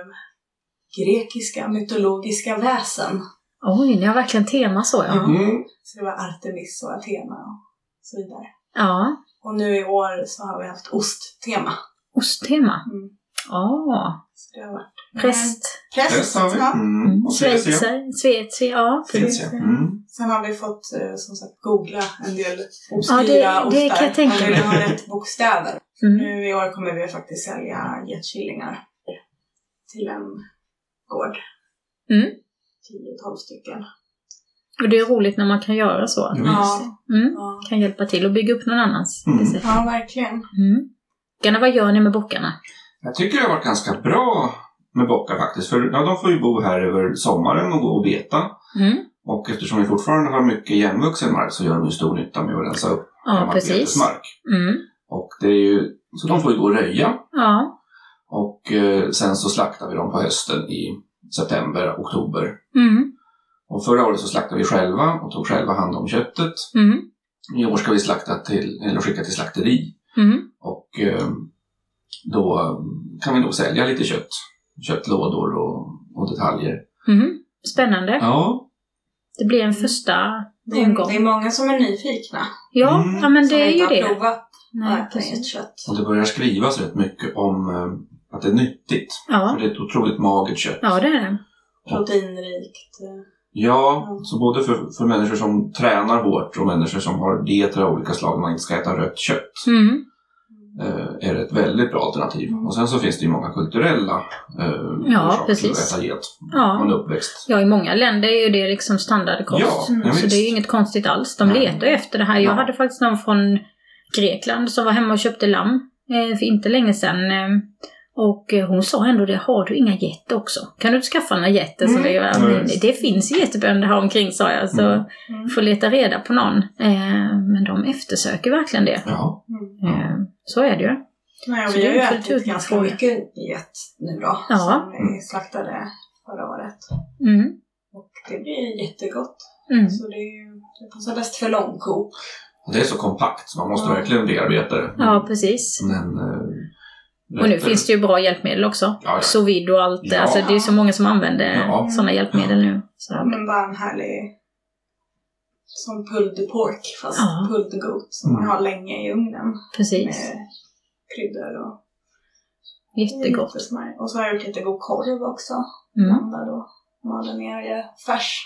grekiska mytologiska väsen.
Oj, ni har verkligen tema så ja.
Ja.
Mm.
Så det var Artemis och Athena och så vidare.
Ja,
Och nu i år så har vi haft osttema.
osttema.
Mm.
Ja,
Så det har varit
präst,
Präst,
Häst har vi.
ja.
Mm.
mm.
Och schweizer.
schweizer, svetse, ja.
Schweizer. Mm.
Sen har vi fått eh, som sagt googla en del
Ja,
ostyra
det- det
ostar.
kan jag tänka
Man vill
mig.
ha rätt bokstäver.
Mm.
Nu i år kommer vi faktiskt sälja getkillingar till en gård.
Mm.
10-12 stycken.
Och det är roligt när man kan göra så. Att
Ja,
man
Ja,
mm.
ja.
kan hjälpa till och bygga upp någon annans.
Mm.
recept.
ja, verkligen.
Mm. Bockarna, vad gör ni med bockarna?
Jag tycker det har varit ganska bra med bockar faktiskt. För ja, de får ju bo här över sommaren och gå och beta.
Mm.
Och eftersom vi fortfarande har mycket igenvuxen mark så gör de ju stor nytta med att rensa upp
Ja,
gammal
precis.
betesmark.
Mm.
Och det är ju, så de får ju gå och röja.
Ja.
Och eh, sen så slaktar vi dem på hösten i september, oktober.
Mm.
Och förra året så slaktade vi själva och tog själva hand om köttet.
Mm.
I år ska vi slakta till, eller skicka till slakteri.
Mm.
Och eh, då eh, kan vi nog sälja lite kött. Köttlådor och, och detaljer.
Mm. Spännande.
Ja,
Det blir en första
Det är,
omgång.
det är många som är nyfikna.
Ja,
Mm.
ja men
Mm. som
det är
inte
ju
har
det.
provat
Nej,
att äta
precis.
inget kött.
och det börjar skrivas rätt mycket om eh, att det är nyttigt. För
Ja.
det är ett otroligt magert kött.
ja, det är det.
Proteinrikt. eh,
Ja,
Mm.
så både för, för människor som tränar hårt och människor som har dieter av olika slag, man inte ska äta rött kött,
Mm.
eh, är det ett väldigt bra alternativ.
Mm.
Och sen så finns det ju många kulturella eh,
Ja,
orsaker till att
precis.
äta get. Man
Ja.
är uppväxt.
ja, i många länder är ju det liksom standardkost.
Ja,
Mm.
ja
Så
visst.
det är ju inget konstigt alls. De
Nej.
letar ju efter det här. Jag
Ja.
hade faktiskt någon från Grekland som var hemma och köpte lamm eh, för inte länge sedan. Eh, och eh, hon sa ändå det, har du inga get också? Kan du inte skaffa några getter? Så
Mm.
det,
Ja,
det,
visst.
det finns getbönder här omkring sa jag, så
Mm.
Mm.
får leta reda på någon. Eh, men de eftersöker verkligen det.
Ja.
Mm.
Eh, så är det ju.
Nej, och
Så
vi
det
har
är
ju
en
ätit
kulturfråga.
ganska mycket get nu då.
Ja.
Som vi
Mm.
slaktade förra året.
Mm.
Och det blir jättegott.
Mm.
Så det, är ju- det passar bäst för långkok.
Och det är så kompakt, så man måste
Ja.
verkligen bearbeta det.
Ja, precis.
Men, eh,
Och nu
rätt-
finns det ju bra hjälpmedel också.
Ja, ja.
Sous vide och allt.
Ja.
Alltså, det är ju så många som använder
Ja.
sådana hjälpmedel nu. Så.
Ja, men bara en härlig som pulled pork fast
Ja.
pulled goat som man
Mm.
har länge i ugnen
Precis.
med kryddor och
Jättegott.
jättesmör. Och så har jag gjort jättegod korv också.
Mm.
Blandad och malen ner och gör färs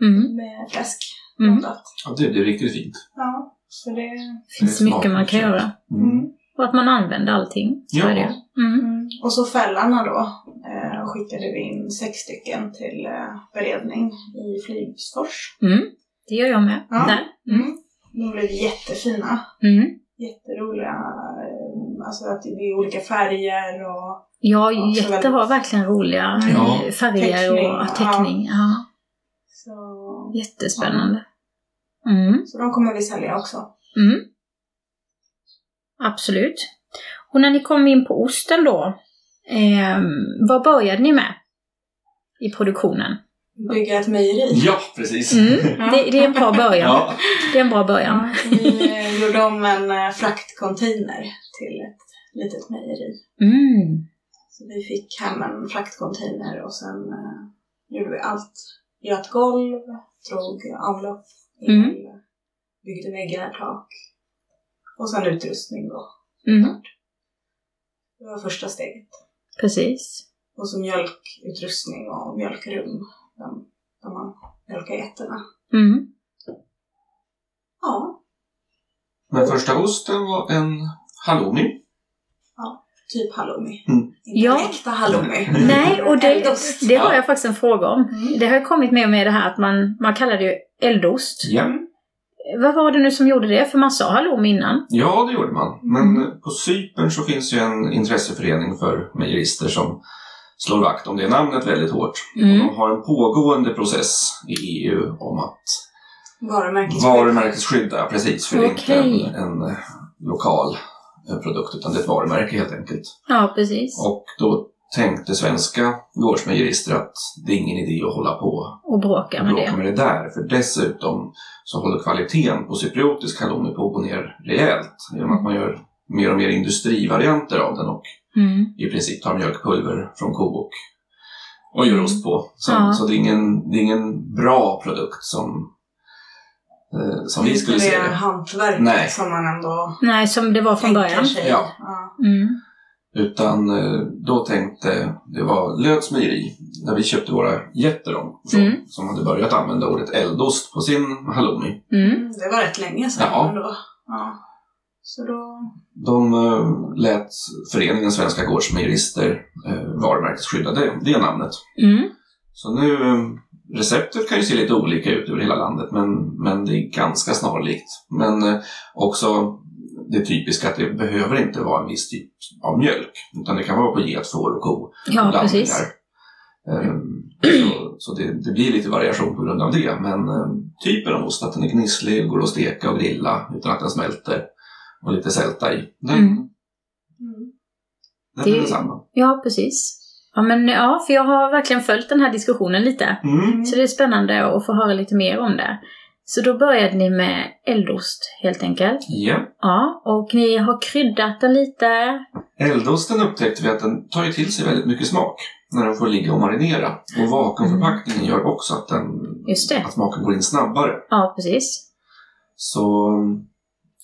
Mm.
med fläsk
Mm.
blandat.
Ja, det blir riktigt fint.
Ja, så det...
Det finns
Det är
mycket man kan
smakligt.
göra.
Mm.
Och att man använder allting. Så
Ja.
är det. Mm.
Mm. Och så fällarna då eh, skickade vi in sex stycken till eh, beredning i Flygsfors.
Mm. Det gör jag med.
Ja.
Där. Mm.
De blev jättefina.
Mm.
jätteroliga, eh, alltså att det är olika färger och
Ja,
Ja, så
jätte
väldigt-
har verkligen roliga
Ja.
eh, färger
Teckning,
och
ja.
teckning. Ja.
så,
Jättespännande. Mm.
så de kommer vi sälja också.
Mm. Absolut. Och när ni kom in på osten då, eh, vad började ni med i produktionen?
Bygga ett mejeri.
Ja, precis.
Mm. Det, det är en bra början.
Ja.
Det är en bra början.
Vi eh, gjorde de en eh, fraktcontainer till ett litet mejeri.
Mm.
Så vi fick hem en fraktcontainer och sen eh, gjorde vi allt. Göt golv, drog avlopp, el,
Mm.
byggde väggar, tak och sen utrustning då.
Mm.
Det var första steget.
Precis.
Och så mjölkutrustning och mjölkrum där, där man mjölkar getterna.
Mm.
Ja,
Men första osten var en halloumi.
typ halloumi.
Mm.
Inte
Ja.
äkta halloumi.
Nej, och det,
Eldost.
det har jag faktiskt en fråga om.
Mm.
Det har ju kommit med med det här att man, man kallar det ju eldost.
Ja.
Vad var det nu som gjorde det? För man sa halloumi innan.
ja, det gjorde man. Men
Mm.
eh, på Cypern så finns ju en intresseförening för mejerister som slår vakt om det namnet väldigt hårt.
Mm.
Och de har en pågående process i EU om att
Varumärkesskydd.
varumärkesskydda, precis, för det är inte
Okej.
en, en eh, lokal eh, produkt utan det är ett varumärke helt enkelt.
Ja, precis.
Och då tänkte svenska gårdsmejerister att det är ingen idé att hålla på
Och bråka
och
med
bråka
det.
med det där. För dessutom så håller kvaliteten på cypriotisk halloumi på att gå ner rejält genom att man gör mer och mer industrivarianter av den och
Mm.
i princip tar mjölkpulver från ko och, och gör ost på. Så,
Mm. Ja.
så det, är ingen, det är ingen bra produkt som, eh, som vi skulle se
det.
det.
hantverket
Nej.
som man ändå
Nej, som det var från början.
sig.
Ja.
Ja.
Mm.
Utan eh, då tänkte, det var Löds mejeri, där vi köpte våra getter om, som,
Mm.
som hade börjat använda ordet eldost på sin halloumi.
Mm.
Mm, Det var rätt länge sedan
Ja.
ändå. Ja. Så då...
De eh, lät föreningen Svenska Gårdsmejerister eh, varumärkesskydda det, det namnet.
Mm.
Så nu, eh, receptet kan ju se lite olika ut över hela landet, men, men det är ganska snarlikt. Men eh, också det typiska att det behöver inte vara en viss typ av mjölk, utan det kan vara på get, får och ko.
Ja,
blandningar.
precis.
Ehm, Så, så det, det blir lite variation på grund av det. Men ehm, typen av ost, att den är gnisslig, går att steka och grilla utan att den smälter och lite sälta i. Den,
Mm.
Mm.
den
Det-
är densamma.
Ja, precis. Ja, men ja, för jag har verkligen följt den här diskussionen lite.
Mm.
Så det är spännande att få höra lite mer om det. Så då började ni med eldost helt enkelt.
Ja.
Ja, och ni har kryddat den lite.
Eldosten upptäckte vi att den tar ju till sig väldigt mycket smak när den får ligga och marinera. Och vakuumförpackningen
Mm.
gör också att, den,
Just det.
att smaken går in snabbare.
Ja, precis.
Så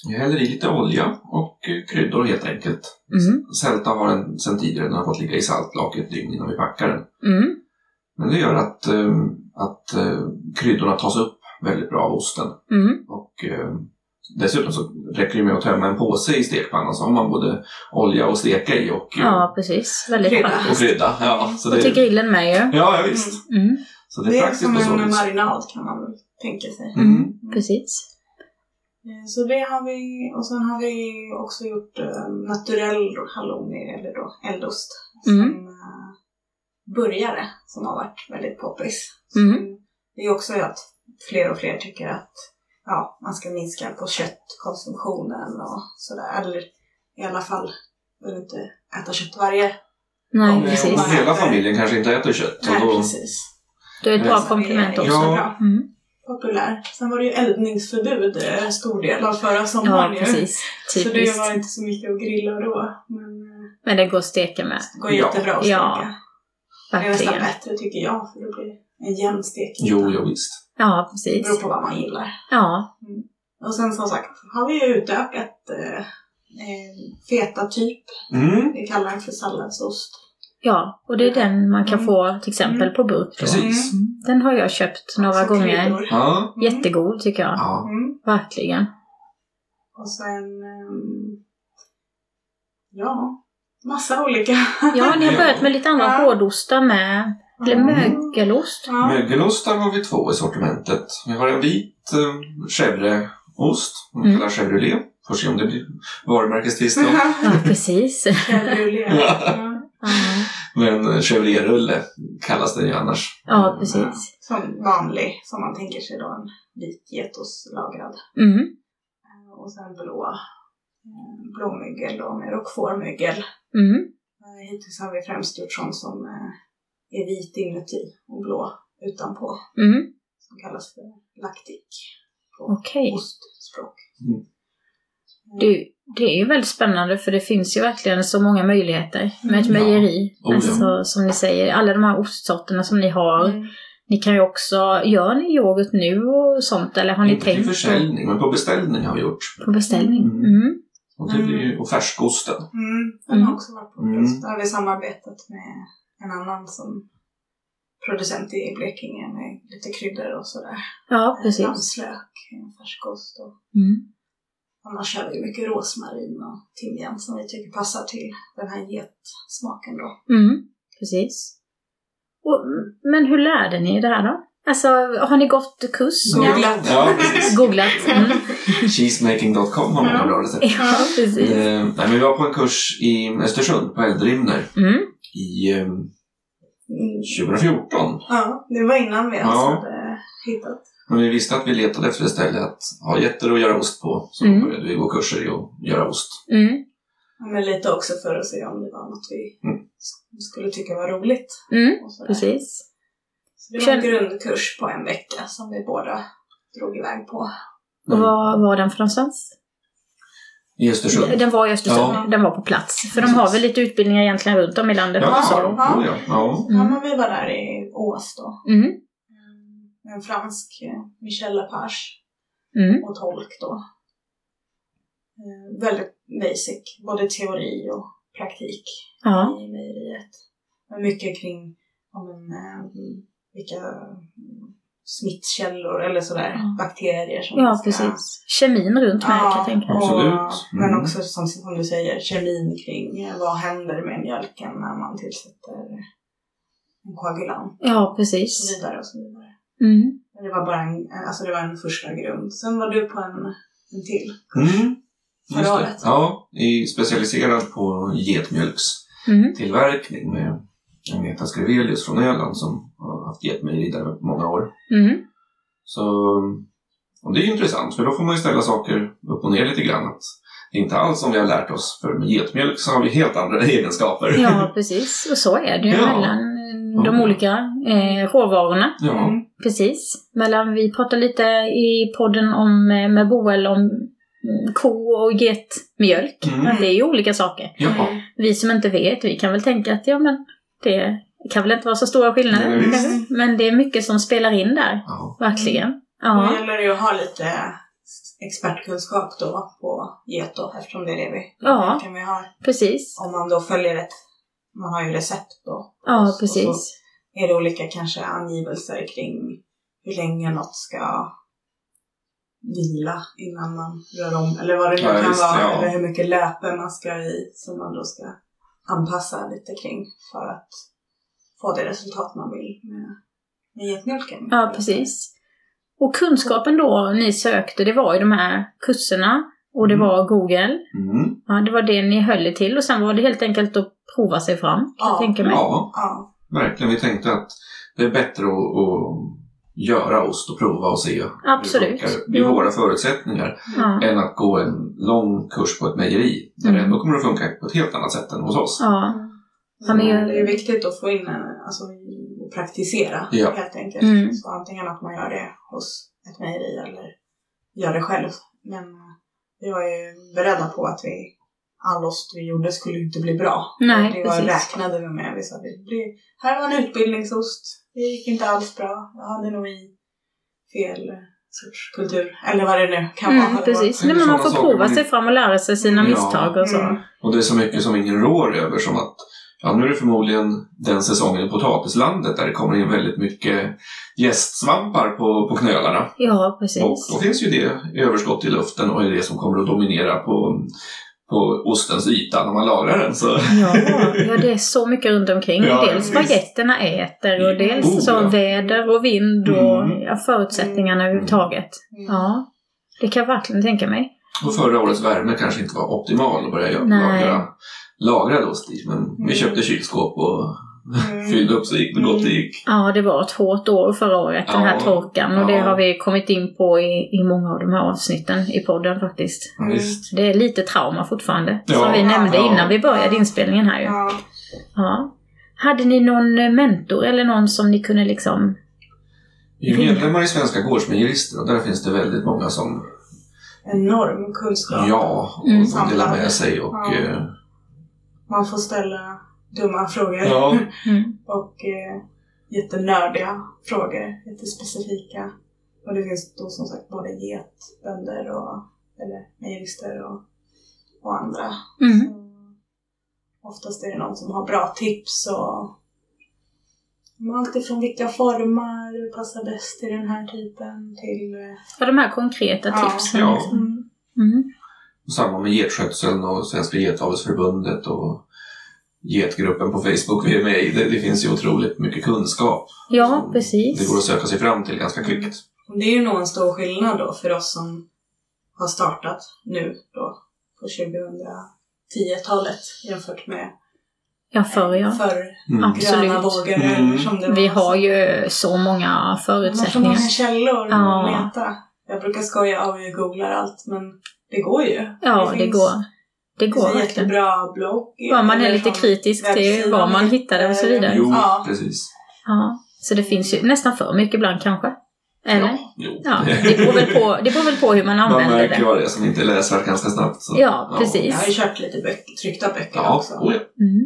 jag häller i lite olja och eh, kryddor helt enkelt.
Mm.
Sälta har den sen tidigare, den har fått ligga i saltlake ett dygn innan vi packar den.
Mm.
Men det gör att, eh, att eh, kryddorna tas upp väldigt bra av osten.
Mm.
Och, eh, dessutom så räcker det med att tömma en påse i stekpannan så har man både olja att steka i och, eh,
Ja, precis. Väldigt
Krydda.
praktiskt.
och krydda. Ja, så
Och
det,
till grillen med ju.
ja, ja, visst.
Mm.
Så det
Det
är
är
praktiskt
som
på så
en
vis.
marinad kan man väl tänka sig.
Mm.
Precis.
Eh, Så det har vi, och sen har vi också gjort eh, naturell halloumi, eller då eldost,
Mm.
som eh, burgare, som har varit väldigt poppis.
Mm.
Så Det är också att fler och fler tycker att ja, man ska minska på köttkonsumtionen och sådär. Eller i alla fall, vill inte äta kött varje
Nej,
Om,
precis.
om hela familjen kanske inte äter kött.
Nej,
och då,
precis.
Då är det ett bra
Så
komplement
det är
också.
också
Ja.
bra.
Mm.
Populär. Sen var det ju eldningsförbud eh, stor del av förra
Ja,
sommaren ju.
precis.
Så det
Typiskt.
var inte så mycket att grilla då. Men eh,
Men det går att steka med.
det går
Ja.
jättebra att
Ja,
steka. Det är nästan
Verkligen.
bättre tycker jag för det blir en jämn stek.
jo, jo, visst.
Ja,
Det beror
precis.
på vad man gillar.
Ja.
Och sen som sagt har vi ju utökat eh, eh, feta typ.
Mm.
Vi kallar den för salladsost.
Ja, och det är den man kan
Mm.
få till exempel på burk då.
Precis.
Mm. Den har jag köpt några
Som
gånger.
kryddor.
Ja.
Mm.
Jättegod tycker jag.
ja.
Mm.
Verkligen.
Och sen... ehm, ja, massa olika.
Ja, ni har
Ja.
börjat med lite andra
Ja.
hårdostar med. Eller
Mm.
mögelost.
Ja.
Mögelostar har vi två i sortimentet. Vi har en vit eh, chèvreost, som vi
Mm.
kallar chèvrelé. Får se om det blir varumärkestvist då.
Ja, precis.
Cabriolet. Ja.
Ja,
Men eh, chèvrerulle kallas den ju annars.
ja precis.
Som vanlig, som man tänker sig då, en vit getoslagrad.
Mm.
Eh, Och sen blå, eh, blåmögel då med roquefortmögel.
Mm.
Eh, Hittills har vi främst gjort sånt som eh, är vit inuti och blå utanpå.
Mm.
Som kallas för laktik på
Okej.
ostspråk. Eh,
Mm.
Det, det är ju väldigt spännande för det finns ju verkligen så många möjligheter med ett
Mm.
mejeri.
Oh, ja.
Alltså, som ni säger, alla de här ostsorterna som ni har.
Mm.
Ni kan ju också, gör ni yoghurt nu och sånt eller har ni
Inte till
tänkt på,
försäljning, men på beställning har vi gjort.
på beställning?
Mm.
Mm.
Och, det blir, ju- och färskosten.
Mm, den
Mm.
har också varit på
Mm.
plats. Där har vi samarbetat med en annan som producent i Blekinge med lite kryddor och sådär.
Ja, precis.
Lammslök, eh, färskost och
Mm.
annars kör vi mycket rosmarin och timjan som vi tycker passar till den här getsmaken då.
Mm. Precis. Och, men hur lärde ni er det här då? Alltså, har ni gått kurs?
Googlat.
Ja, precis.
Googlat. Mm.
Cheesemaking.com har många bra recept.
Ja, precis.
Eh, nej, men vi var på en kurs i Östersund på Eldrimner
Mm.
i eh,
Mm.
2014.
Ja, det var innan vi ens
Ja.
hade hittat.
Men vi visste att vi letade efter ett ställe att ha getter att göra ost på. Så
Mm.
började vi gå kurser i att göra ost.
Mm.
Ja, Men lite också för att se om det var något vi
Mm.
s- skulle tycka var roligt.
Mm.
Och sådär.
Precis.
Så det var en
Känn-
grundkurs på en vecka som vi båda drog iväg på.
Och vad var den för någonstans?
I Östersund.
Den var i Östersund.
Ja.
Den var på plats. För de
Precis.
har väl lite utbildningar egentligen runt om i landet
Ja,
också?
sa de.
Ja.
Oh, ja. ja.
Mm.
Ja, men vi var där i Ås då.
Mm.
Med en fransk, eh, Michel Lepage,
Mm.
och tolk då. Eh, Väldigt basic, både teori och praktik
Ja.
i mejeriet. Men mycket kring om en, vilka mm, smittkällor eller sådär,
Ja.
bakterier som man
ja,
ska-
precis. Kemin runt med kan jag tänka.
Absolut.
Och,
Mm.
Men också som, som du säger, kemin kring eh, vad händer med mjölken när man tillsätter en koagulant
Ja,
och så
precis.
vidare och så vidare.
Mm.
Men Det var bara en, alltså det var en första grund. Sen var du på en, en till.
Mm. Just
Förra
det.
året.
Ja, i, specialiserad på getmjölkstillverkning
Mm.
med Agneta Skrevelius från Öland som har haft getmejeri där i många år.
Mm.
Så och det är ju intressant för då får man ju ställa saker upp och ner lite grann. Att det är inte alls som vi har lärt oss för med getmjölk så har vi helt andra egenskaper.
Ja, precis. Och så är det ju
Ja.
mellan eh, de
Mm.
olika eh, råvarorna.
Ja.
Mm.
Precis. Mellan, vi pratade lite i podden om, eh, med Boel om mm, ko och getmjölk.
Mm.
Att Det är ju olika saker.
Ja.
vi som inte vet, vi kan väl tänka att ja men det kan väl inte vara så stora skillnader.
Nej,
visst.
kanske. men det är mycket som spelar in där,
ja.
verkligen.
Då
Mm.
Ja,
gäller det ju att ha lite expertkunskap då på get då, eftersom det är det vi,
Ja.
kan vi ha.
precis.
Om man då följer ett, man har ju recept då.
Ja,
Och så
precis.
är det olika kanske angivelser kring hur länge något ska vila innan man rör om eller vad det nu
Ja,
kan
visst,
vara.
ja.
Eller hur mycket löpe man ska i som man då ska anpassa lite kring för att få det resultat man vill med, med getmjölken.
Ja, precis. Och kunskapen då ni sökte, det var ju de här kurserna och det
Mm.
var Google.
Mm.
Ja, det var det ni höll er till och sen var det helt enkelt att prova sig fram, kan jag
Ja.
tänka mig.
ja,
Ja,
verkligen. Vi tänkte att det är bättre att, att göra ost och prova och se
Absolut.
hur det funkar i
Ja.
våra förutsättningar.
Ja.
än att gå en lång kurs på ett mejeri. Där
Mm.
det ändå kommer att funka på ett helt annat sätt än hos oss.
ja. Ja,
Så
men jag-
det är viktigt att få in en, alltså och praktisera
Ja.
helt enkelt.
Mm.
Så antingen att man gör det hos ett mejeri eller gör det själv. Men eh, vi var ju beredda på att vi, all ost vi gjorde skulle inte bli bra.
Nej,
det var,
precis.
räknade vi med. Vi sa det blir, här var en utbildningsost. Det gick inte alls bra. Jag hade nog i fel sorts kultur. Eller vad det nu kan vara.
Mm,
Det
precis.
Det är
Nej, men man
sådana
får
saker
prova
man-
sig fram och lära sig sina
Ja.
misstag och så.
Mm.
Och det är så mycket som ingen rår över som att ja, nu är det förmodligen den säsongen i potatislandet där det kommer in väldigt mycket gästsvampar på, på knölarna.
Ja, precis.
Och då finns ju det överskott i luften och är det som kommer att dominera på, på ostens yta när man lagrar den. Så.
Ja, ja, det är så mycket runt omkring.
Ja,
dels vad
visst.
getterna äter och dels
Oh,
så
ja.
väder och vind och
Mm.
ja, förutsättningarna överhuvudtaget.
Mm.
Ja, det kan jag verkligen tänka mig.
Och förra årets värme kanske inte var optimal att börja göra-
Nej. Mm.
lagra lagrad ost i. Men vi köpte kylskåp och
Mm.
fyllde upp så gick- gott det gick.
Ja, det var ett hårt år förra året, den här
Ja,
torkan. Och det
ja.
har vi kommit in på i, i många av de här avsnitten i podden faktiskt.
Ja,
Mm.
visst.
Så det är lite trauma fortfarande,
Ja,
som vi nämnde
ja.
innan vi började inspelningen här ju.
Ja.
Ja. Hade ni någon eh, mentor eller någon som ni kunde liksom...
Vi är medlemmar i Svenska Gårdsmejerister och där finns det väldigt många som
enorm kunskap.
Ja, och
Mm.
mm. dela med sig och...
Ja.
eh,
Man får ställa dumma frågor
Ja.
Mm.
och eh, jättenördiga frågor, jättespecifika. Och det finns då som sagt både getbönder och eller mejerister och, och andra.
Mm.
Så Oftast är det någon som har bra tips och men allt ifrån vilka former passar bäst i den här typen till... eh,
Ja, de här konkreta
Ja.
tipsen.
Ja.
liksom.
Mm.
Mm.
Och samma med getskötseln och Svenska Getavelsförbundet och Getgruppen på Facebook vi är med i. Det, det finns ju otroligt mycket kunskap.
ja
som Det
precis.
går att söka sig fram till ganska kvickt.
Och det är ju nog en stor skillnad då för oss som har startat nu då på 2010-talet jämfört med
Ja, förr ja.
förr
Mm.
Ja. Absolut.
gröna vågor
Mm.
eller som det var.
Vi har ju så många
Man får många
förutsättningar.
källor
Ja.
att leta. Jag brukar skoja och jag googlar allt men det går ju.
Ja, det
finns-
går. Det går
finns en
verkligen.
jättebra blogg.
Bara man är
eller
lite
från
kritisk till
liksom webbsidan
vad man hittade och så vidare.
Jo,
Ja.
precis.
Ja. Så det finns ju nästan för mycket ibland kanske. Eller? Ja,
Ja, jo.
det, beror väl på, det beror väl på hur man
Man
använder
märker
det.
vad det är som inte läser ganska snabbt. Så.
Ja, precis.
Jag har ju köpt lite böcker, tryckta böcker
Ja,
också.
oh, ja.
Mm.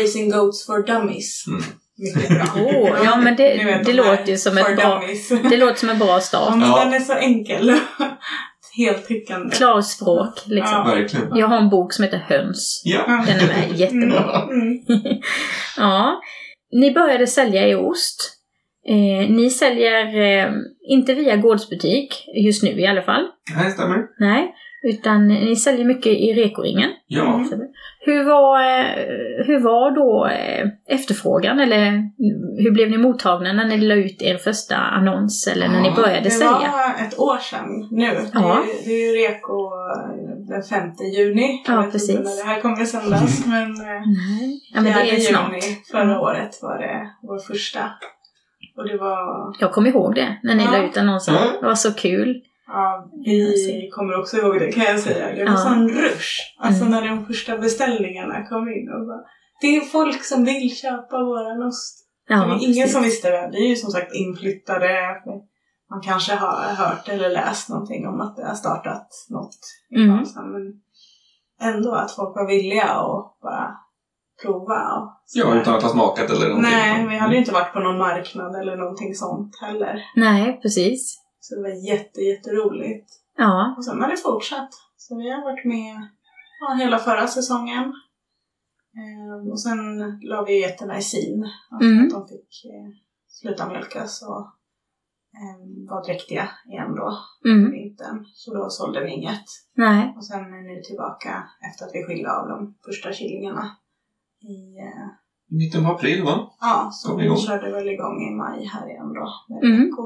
Racing Goats for Dummies.
Mm.
Mycket bra.
Åh, ja, men det-
Ni vet,
det
de här
låter ju som
for
ett bra-
Dummies.
Det låter som en bra start.
Ja, men
Ja.
den är så enkel. Heltäckande.
Klarspråk, liksom.
Verkligen.
Jag har en bok som heter Höns.
Ja.
Den är med jättebra.
Mm. Mm.
Ja. Ni började sälja i ost. Eh, ni säljer eh, inte via gårdsbutik, just nu i alla fall.
Nej, stämmer.
Nej. Utan ni säljer mycket i rekoringen.
Ja.
Mm.
Hur var, eh, hur var då eh, efterfrågan? Eller hur blev ni mottagna när ni la ut er första annons? Eller när ni
Ja,
började
Det
sälja?
var ett år sedan nu.
Ja.
Det, är, det är ju reko eh, den 5 juni.
Ja,
Jag vet inte
precis.
När det här kommer att sändas. Men, eh,
Nej. Ja, men det
4
är snart. Mm.
juni förra året var det vår första. Och det var,
Jag kommer ihåg det, när ni
Ja.
la ut annonsen.
Ja.
Det var så kul.
ja, vi kommer också ihåg det kan jag säga. Det var
Ja.
sån rush. Alltså
Mm.
när de första beställningarna kom in och bara, det är folk som vill köpa våran ost.
Ja,
det var ingen
precis.
som visste det. Vi är ju som sagt inflyttade. Man kanske har hört eller läst någonting om att det har startat något i
Mm.
Karlshamn, Men ändå att folk var villiga och bara prova. Och
ja, utan att ha smakat eller någonting.
Nej, vi hade ju inte varit på någon marknad eller någonting sånt heller.
Nej, precis.
Så det var jätte, jätteroligt.
Ja.
Och sen har det fortsatt. Så vi har varit med ja, hela förra säsongen. Ehm, och sen la vi getterna i sin. Alltså
Mm.
att de fick eh, sluta mjölkas och ehm, var dräktiga igen då på
Mm.
vintern. Så då sålde vi inget.
Nej.
Och sen är nu tillbaka efter att vi skilde av de första killingarna. I, eh,
Mitten på april, va?
ja, så
Kom
vi
igång.
körde väl igång i maj här igen då. Med
Mm.
Eko.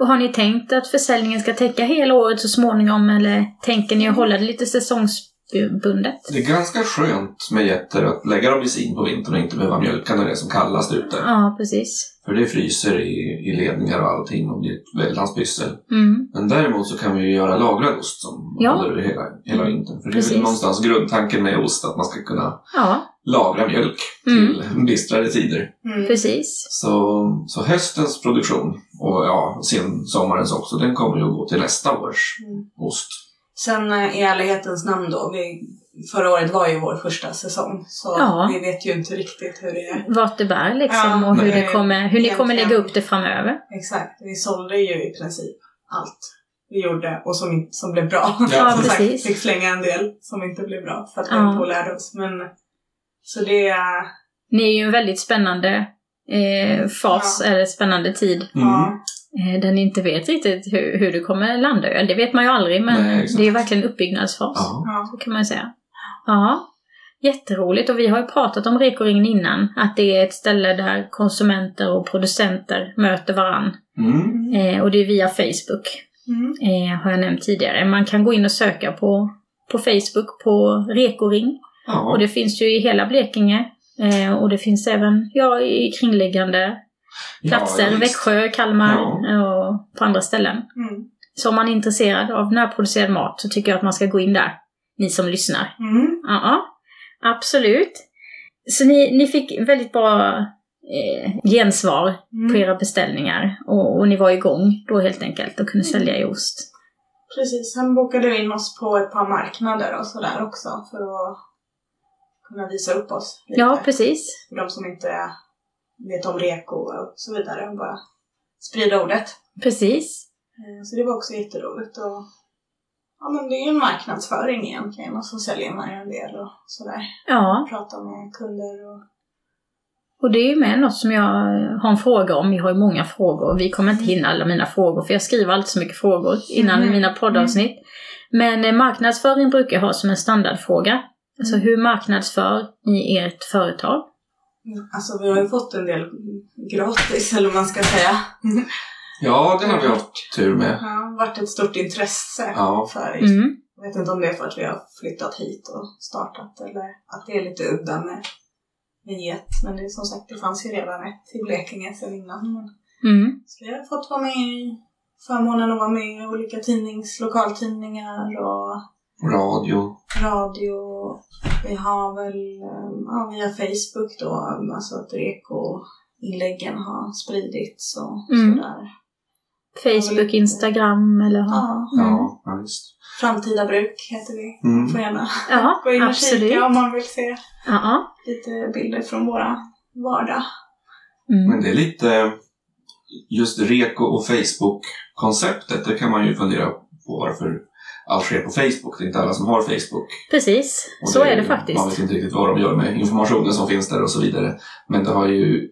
Och har ni tänkt att försäljningen ska täcka hela året så småningom eller tänker ni att hålla det lite säsongsbundet?
Det är ganska skönt med getter att lägga dem i sin på vintern och inte behöva mjölka när det är som kallast ute.
Ja, precis.
För det fryser i, i ledningar och allting och blir ett väldans pyssel.
Mm.
Men däremot så kan vi ju göra lagrad ost som
Ja. Mm.
håller hela, hela vintern. För det är
Precis.
väl någonstans grundtanken med ost, att man ska kunna
Ja,
lagra mjölk till bistrare tider.
Mm.
precis.
Så, så höstens produktion och ja, sen sommarens också, den kommer ju att gå till nästa års
Mm.
ost.
Sen eh, i ärlighetens namn då, vi, förra året var ju vår första säsong så
Ja.
vi vet ju inte riktigt hur det är.
Vart det bär liksom
Ja,
och hur,
nej.
det kommer, hur ni kommer
Egentligen.
lägga upp det framöver.
Exakt, vi sålde ju i princip allt vi gjorde och som, inte- som blev bra.
Ja,
som
precis.
fick slänga en del som inte blev bra för att vi
Ja.
inte lärde oss. Men, så det är...
Ni är ju en väldigt spännande eh, fas eller spännande tid
Mm.
Ja,
eh, där ni inte vet riktigt hur, hur det kommer landa. Ja, Det vet man ju aldrig men
Nej, exakt.
det är ju verkligen en uppbyggnadsfas.
Ja.
ja.
Så kan man ju säga. Ja. Jätteroligt och vi har ju pratat om Rekoringen innan, att det är ett ställe där konsumenter och producenter möter varann.
Mm.
Mm.
Eh, och det är via Facebook,
Mm.
eh, har jag nämnt tidigare. Man kan gå in och söka på, på Facebook på Rekoring. Och
ja.
det finns ju i hela Blekinge. Eh, och det finns även ja, i kringliggande platser,
ja, visst.
Växjö, Kalmar
Ja.
eh, och på andra ställen.
Mm.
Så om man är intresserad av närproducerad mat så tycker jag att man ska gå in där, ni som lyssnar.
Mm.
Ja, ja. absolut. Så ni, ni fick väldigt bra eh, gensvar på
Mm.
era beställningar och, och ni var igång då helt enkelt och kunde sälja i ost.
Precis, han bokade ju in oss på ett par marknader och sådär också för att kunna visa upp oss lite.
Ja, precis.
för de som inte vet om reko och så vidare. Och bara sprida ordet.
Precis.
Eh, Så det var också jätteroligt. Och, ja, men det är ju en marknadsföring egentligen och så säljer man ju en del och sådär.
Ja,
Pratar med kunder och...
och det är ju med något som jag har en fråga om. Vi har ju många frågor. Vi kommer inte hinna alla mina frågor för jag skriver alltid så mycket frågor innan
Mm.
mina poddavsnitt. Men eh, marknadsföring brukar jag ha som en standardfråga. Alltså
Mm.
hur marknadsför ni ert företag?
Alltså vi har ju fått en del gratis eller vad man ska säga.
Ja, den har vi haft tur
Det
med.
har varit ett stort intresse
Ja.
för just
Mm.
Jag vet inte om det är för att vi har flyttat hit och startat eller att det är lite udda med, med get. Men det är som sagt, det fanns ju redan ett i Blekinge sedan innan. Men,
Mm.
så vi har fått vara med i förmånen att vara med i olika tidnings, lokaltidningar och
Radio.
radio. Vi har väl eh, ja, via Facebook då, alltså att reko-inläggen har spridits och
Mm.
sådär.
Facebook, Instagram eller?
Ja,
Mm.
Ja, ja visst.
Framtida bruk heter vi.
Mm.
Får gärna
Ja,
gå in och
absolut.
kika om man vill se.
Ja,
lite bilder från våra vardag.
ja. Mm.
Men det är lite just reko och Facebook-konceptet. Det kan man ju fundera på varför allt sker på Facebook. Det är inte alla som har Facebook.
Precis,
Och
så är det
Man
faktiskt.
vet inte riktigt vad de gör med informationen som finns där och så vidare. Men det har ju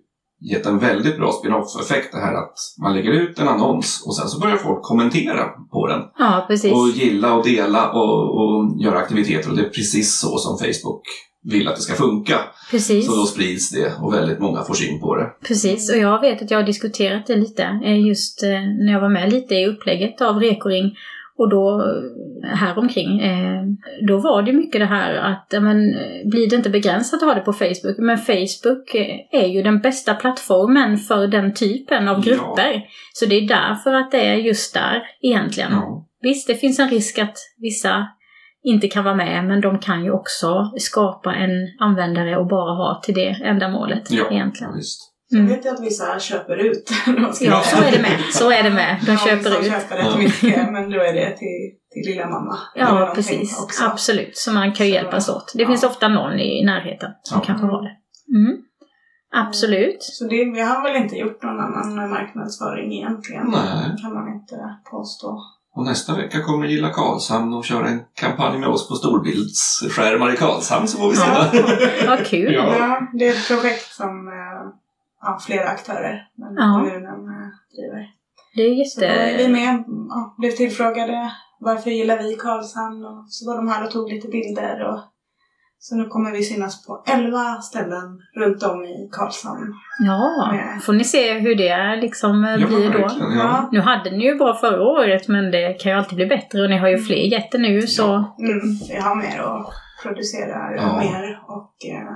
gett en väldigt bra spin-off-effekt det här att man lägger ut en annons och sen så börjar folk kommentera på den.
Ja,
Och
precis.
gilla och dela och, och göra aktiviteter och det är precis så som Facebook vill att det ska funka.
Precis.
Så då sprids det och väldigt många får syn på det.
Precis,
Mm.
och jag vet att jag har diskuterat det lite eh, just eh, när jag var med lite i upplägget av Rekoring och då eh, häromkring. eh, Då var det mycket det här att ja, men, eh, blir det inte begränsat att ha det på Facebook? Men Facebook eh, är ju den bästa plattformen för den typen av
Ja.
grupper. Så det är därför att det är just där egentligen.
Ja.
Visst, det finns en risk att vissa inte kan vara med, men de kan ju också skapa en användare och bara ha till det ändamålet
Ja,
egentligen.
ja, visst.
Jag
Mm.
vet ju att vissa köper ut. De ska-
Ja, så är det med. Så är det med. De
Ja,
köper
vissa
ut.
köper rätt
Ja.
mycket, men då är det till, till lilla mamma. eller
Ja,
någonting
precis.
också.
Absolut. Så man kan ju
Så,
hjälpas åt. Det
ja.
finns ofta någon i närheten som
Ja.
kanske har det. Mm. Absolut.
Så det, vi har väl inte gjort någon annan marknadsföring egentligen.
Nej.
kan man inte påstå.
Och nästa vecka kommer Gilla Karlshamn och köra en kampanj med oss på storbildsskärmar i Karlshamn så får vi se.
Ja.
Vad kul.
Ja.
Ja, det är ett projekt som eh, ja, flera aktörer, men
Ja.
kommunen eh, driver.
Det är
Så då är vi
jätte...
med. Ja, blev tillfrågade varför gillar vi Karlshamn och så var de här och tog lite bilder. Och, så nu kommer vi synas på 11 ställen runt om i Karlshamn.
Ja, får ni se hur det liksom eh,
Ja,
blir då.
verkligen, Ja.
Nu hade ni ju bra förra året, men det kan ju alltid bli bättre och ni har ju fler jätter nu så...
Mm, vi har mer och producerar
Ja.
mer och eh,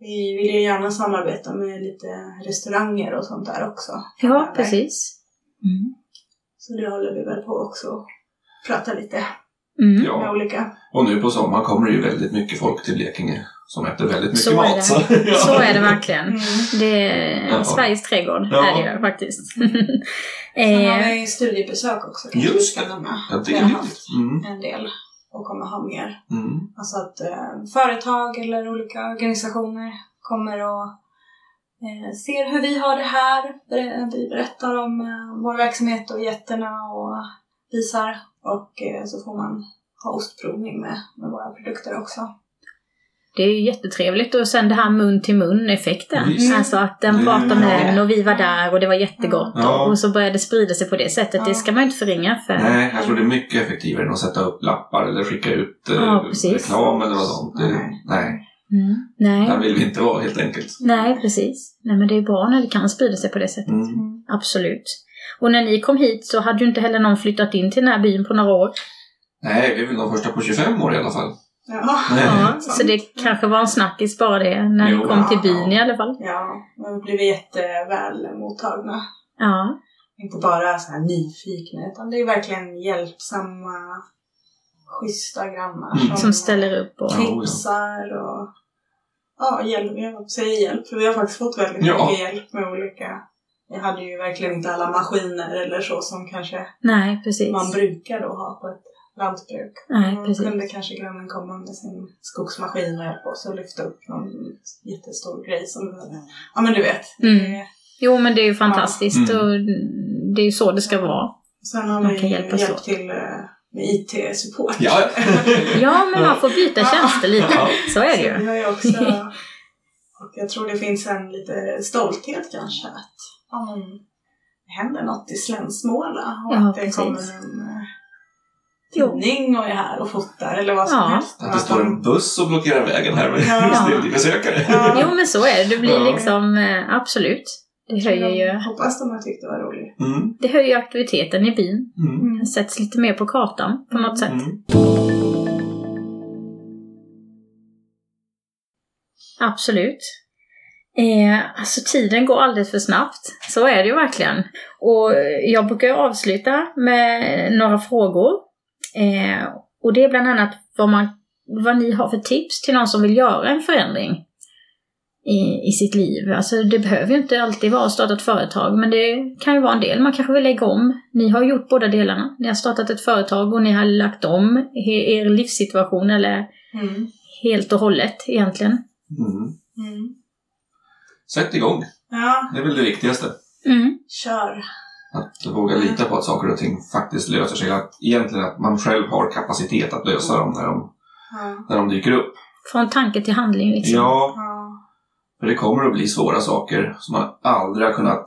vi vill ju gärna samarbeta med lite restauranger och sånt där också.
Ja, precis. Mm.
Så det håller vi väl på också och prata lite
Mm.
med
ja.
olika.
Och nu på sommaren kommer det ju väldigt mycket folk till Blekinge som äter väldigt mycket
Så är det.
mat. ja.
Så är det verkligen.
Mm.
Det är
Ja.
Sveriges trädgård
Ja.
är det ju faktiskt.
Sen har
eh,
vi studiebesök också. kanske vi
Just
ska
det.
nämna.
Ja, det
Vi
är
har
nytt.
haft
Mm.
en del och kommer ha mer.
Mm.
Alltså att eh, företag eller olika organisationer kommer och eh, ser hur vi har det här. Ber- Vi berättar om eh, vår verksamhet och jätterna och visar. Och eh, så får man ha ostprovning med, med våra produkter också.
det är ju jättetrevligt och sen det här mun till mun effekten.
Visst.
Alltså att den
Mm.
pratar med en och vi var där och det var jättegott
Ja.
och, och så började det sprida sig på det sättet.
Ja.
Det ska man ju inte förringa för.
Nej, jag tror det är mycket effektivare än att sätta upp lappar eller skicka ut eh,
Ja, precis.
reklam eller något sånt. Det,
Nej.
nej,
Mm. Nej.
där vill vi inte vara helt enkelt.
Nej, precis. Nej, men det är bra när det kan sprida sig på det sättet.
Mm.
Absolut. Och när ni kom hit så hade ju inte heller någon flyttat in till den här byn på några år.
Nej, vi är väl de första på 25 år i alla fall.
Ja.
Ja,
sant.
så det kanske var en snackis bara det när ni
Jo.
kom till byn i alla fall.
Ja, men vi blev jätteväl mottagna.
Ja,
Inte bara så här nyfikna utan det är verkligen hjälpsamma, schyssta grannar
Mm.
som ställer upp och...
Ja, ja.
tipsar och ja, hjälp. Jag säger hjälp, för vi har faktiskt fått väldigt
Ja.
mycket hjälp med olika Jag hade ju verkligen inte alla maskiner eller så som kanske
Nej, precis.
man brukar då ha på ett lantbruk.
Nej,
Då
precis.
kunde kanske grannen komma med sin skogsmaskin och hjälpa oss att lyfta upp någon jättestor grej som... Ja men du vet.
Mm. Jo, men det är ju fantastiskt
Ja. Mm.
och det är ju så det ska vara.
Sen har
Man
vi
kan
hjälpt
hjälpas åt.
till eh, med IT-support.
Ja,
Ja, men man får byta
Ja.
tjänster lite.
Ja.
Så är det
Så
ju.
vi har ju också... Och jag tror det finns en lite stolthet kanske att ja, men, det händer något i Slänsmåla och
Ja,
att det
precis.
kommer en eh,
Jo.
tidning och är här och fotar eller vad som
Ja.
helst.
Att det står en buss och blockerar vägen här med
Ja.
snillbesökare.
Ja.
Jo, men så är det. Det blir
Ja.
liksom, eh, absolut. Det höjer ju,
Hoppas de har tyckt det var roligt.
Mm,
det höjer ju aktiviteten i byn.
mm,
Den sätts lite mer på kartan på något sätt.
mm.
Absolut. Eh, alltså tiden går alldeles för snabbt. Så är det ju verkligen. Och eh, jag brukar ju avsluta med några frågor. Eh, och det är bland annat vad, man, vad ni har för tips till någon som vill göra en förändring i, i sitt liv. Alltså det behöver ju inte alltid vara att starta ett företag, men det kan ju vara en del. Man kanske vill lägga om. Ni har gjort båda delarna. Ni har startat ett företag och ni har lagt om he- er livssituation, eller
Mm.
helt och hållet egentligen.
Mm.
Mm.
Sätt igång,
Ja,
det är väl det viktigaste.
Mm.
kör.
Att våga lita på att saker och ting faktiskt löser sig. Att egentligen att man själv har kapacitet att lösa dem när de,
Ja.
när de dyker upp.
Från tanke till handling liksom.
Ja,
Ja.
för det kommer att bli svåra saker som man aldrig har kunnat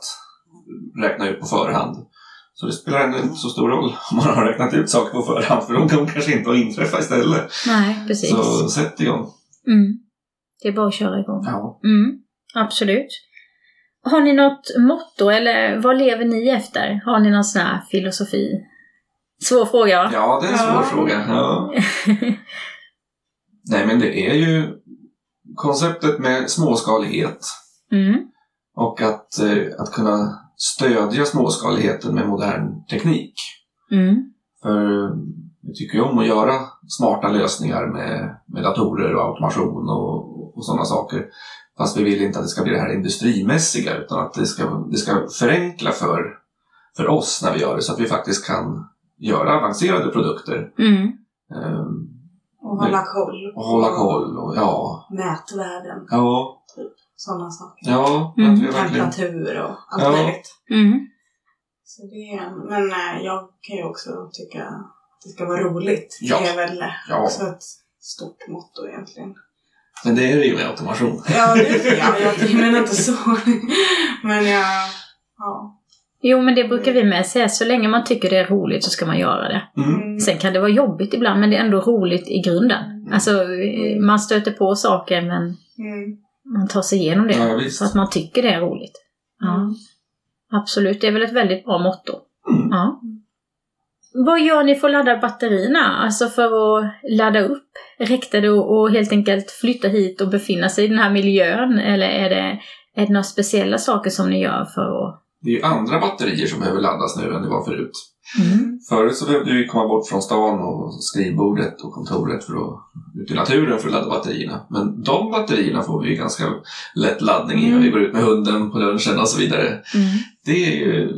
räkna ut på förhand. Så det spelar ändå inte så stor roll om man har räknat ut saker på förhand för de kommer kanske inte att inträffa istället.
Nej, precis.
Så sätt igång.
Mm. Det är bara att köra igång.
Ja.
Mm. Absolut. Har ni något motto eller vad lever ni efter? Har ni någon sån här filosofi? Svår fråga va?
ja, det är en svår
Ja.
fråga. Ja. Nej, men det är ju konceptet med småskalighet.
Mm.
Och att, eh, att kunna stödja småskaligheten med modern teknik.
Mm.
För vi tycker ju om att göra smarta lösningar med, med datorer och automation och, och sådana saker. Fast vi vill inte att det ska bli det här industrimässiga utan att det ska, det ska förenkla för, för oss när vi gör det så att vi faktiskt kan göra avancerade produkter.
Mm.
Eh,
Och hålla koll.
och hålla koll och ja,
Mätvärden.
ja,
Sådana saker.
ja.
Mm.
att vi verkligen,
Temperatur och allt
Ja.
möjligt.
Mm.
Så det är, men eh, jag kan ju också tycka att det ska vara roligt.
Ja.
Det är väl eh,
ja,
också ett stort motto egentligen.
men det är det ju med automation.
Ja, det, ja jag menar inte så. Men jag... Ja.
Jo men det brukar vi med säga, så länge man tycker det är roligt så ska man göra det.
Mm.
Mm.
Sen kan det vara jobbigt ibland men det är ändå roligt i grunden. Alltså eh, man stöter på saker men
Mm.
man tar sig igenom det.
Ja, visst.
så att man tycker det är roligt. Ja.
Mm.
Absolut, det är väl ett väldigt bra motto.
Mm.
Ja. Vad gör ni för att ladda batterierna? Alltså för att ladda upp? Räckte det att att helt enkelt flytta hit och befinna sig i den här miljön? Eller är det, är det några speciella saker som ni gör för att...
Det är ju andra batterier som behöver laddas nu än det var förut.
Mm.
Förut så behövde vi komma bort från stan och skrivbordet och kontoret för att ut i naturen för att ladda batterierna. Men de batterierna får vi ju ganska lätt laddning i när vi går ut med hunden på lunchen och så vidare.
Mm.
Det är ju...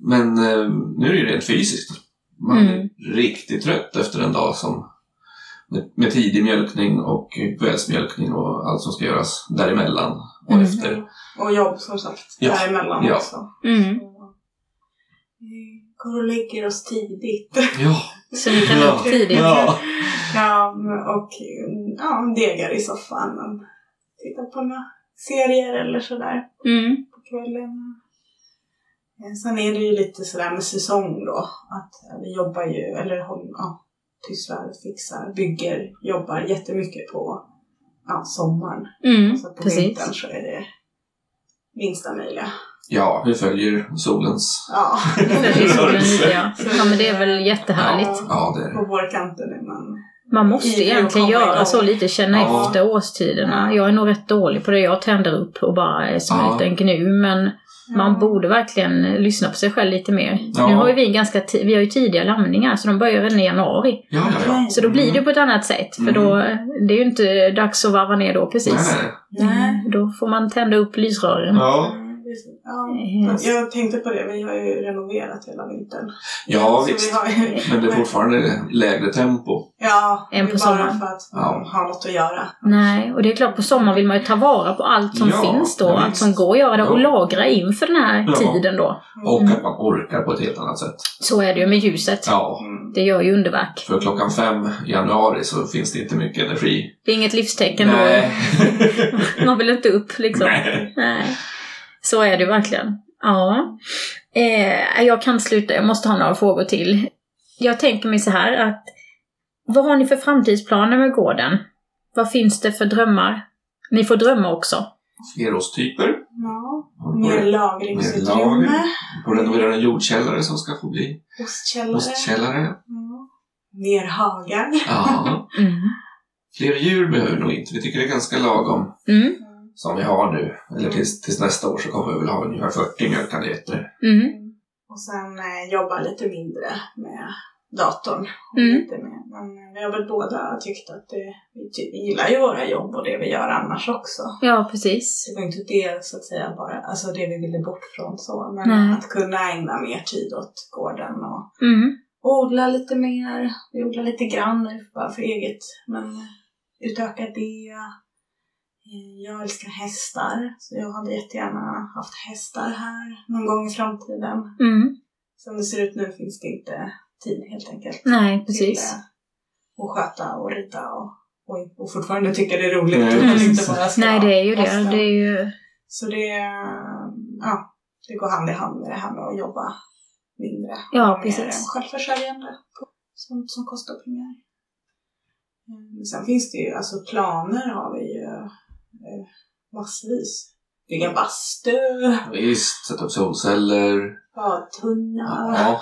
Men eh, nu är det ju rent fysiskt. Man
Mm.
är riktigt trött efter en dag som med, med tidig mjölkning och kvällsmjölkning och allt som ska göras däremellan och
Mm.
efter.
Och jobb som sagt.
Ja.
Däremellan
Ja.
också.
Mm.
Vi går och lägger oss tidigt.
Ja,
Så ni kan
Ja.
upp tidigt.
ja.
Ja, och mm, ja, degar i soffan. och Tittar på några serier eller sådär
Mm.
på kvällen. Eh, Sen är det ju lite sådär med säsong då. Att eh, vi jobbar ju, eller håll- ja, pysslar, fixar, bygger, jobbar jättemycket på ja, sommaren.
Mm.
Så på vintern
Precis.
så är det minsta möjliga.
ja, vi följer solens...
Ja.
Precis som den nya. Ja men det är väl jättehärligt.
Ja,
Ja, det är det.
på vårkanten är man...
Man måste
I- i att
egentligen
komma
göra
igång.
så lite, känna
Ja.
efter årstiderna. Jag är nog rätt dålig på det. Jag tänder upp och bara är som
Ja.
en gnu. Men man borde verkligen lyssna på sig själv lite mer.
Ja.
Nu har ju vi, ganska ti- vi har ju tidiga lamningar, så de börjar redan i januari.
Ja, ja, ja.
Så då blir det på ett annat sätt. För
Mm.
då, det är ju inte dags att varva ner då precis.
Nej, nej.
Mm.
Nej.
Då får man tända upp lysrören.
Ja.
Det precis. Ja, jag tänkte på det, vi har ju renoverat hela vintern.
Ja,
Så
visst.
Vi har ju,
Men det är fortfarande lägre tempo.
ja,
En
det
på
är bara
sommaren. Mm.
för att
Ja.
ha något att göra.
Nej, och det är klart på sommaren vill man ju ta vara på allt som
Ja,
finns då,
ja,
allt
visst.
som går att göra där och
Ja.
lagra inför den här
Ja.
tiden då.
Och
Mm.
att man orkar på ett helt annat sätt.
Så är det ju med ljuset.
Ja,
Mm.
Det gör ju underverk.
för klockan fem i januari så finns det inte mycket energi.
Det är inget livstecken
Nej.
då. Man vill inte upp liksom.
Nej.
Nej. Så är det verkligen. Ja. Eh, jag kan sluta, jag måste ha några frågor till. Jag tänker mig så här att vad har ni för framtidsplaner med gården? Vad finns det för drömmar? Ni får drömma också.
Flerårstyper.
Ja, mer
På- Mer
lagringsutrymme.
lagring. På renoverade jordkällare som ska få bli
Ostkällare.
ostkällare.
Ja. Mer hagar.
Ja.
Mm.
Fler djur behöver vi nog inte. Vi tycker det är ganska lagom
Mm.
som vi har nu. Eller tills, tills nästa år så kommer vi väl ha ungefär 40 mjölkkandidater.
Mm.
Och sen eh, jobba lite mindre med datorn. och
Mm.
Lite mer. Men eh, vi har väl båda tyckt att det, vi, ty- vi gillar ju våra jobb och det vi gör annars också.
Ja, precis.
Det var inte det så att säga bara, alltså det vi ville bort från så. Men
Nej.
att kunna ägna mer tid åt gården och
Mm.
odla lite mer. Vi odlar lite grann nu bara för eget. Men utöka det. Eh, Jag älskar hästar. Så jag hade jättegärna haft hästar här någon gång i framtiden.
Mm.
Som det ser ut nu finns det inte tid helt enkelt.
Nej,
Till,
precis.
eh, att sköta och rida och, och, och fortfarande tycka det är roligt.
Nej,
att
precis.
inte bara ska
Nej, det är ju det.
måste.
Det är ju...
Så det, eh, ja, det går hand i hand med det här med att jobba mindre.
Ja,
Mer
precis.
Självförsörjande på sånt som kostar pengar. Mm, Sen finns det ju, alltså planer har vi ju eh, massvis. Bygga bastu,
Visst, sätta upp solceller.
badtunna.
Ja.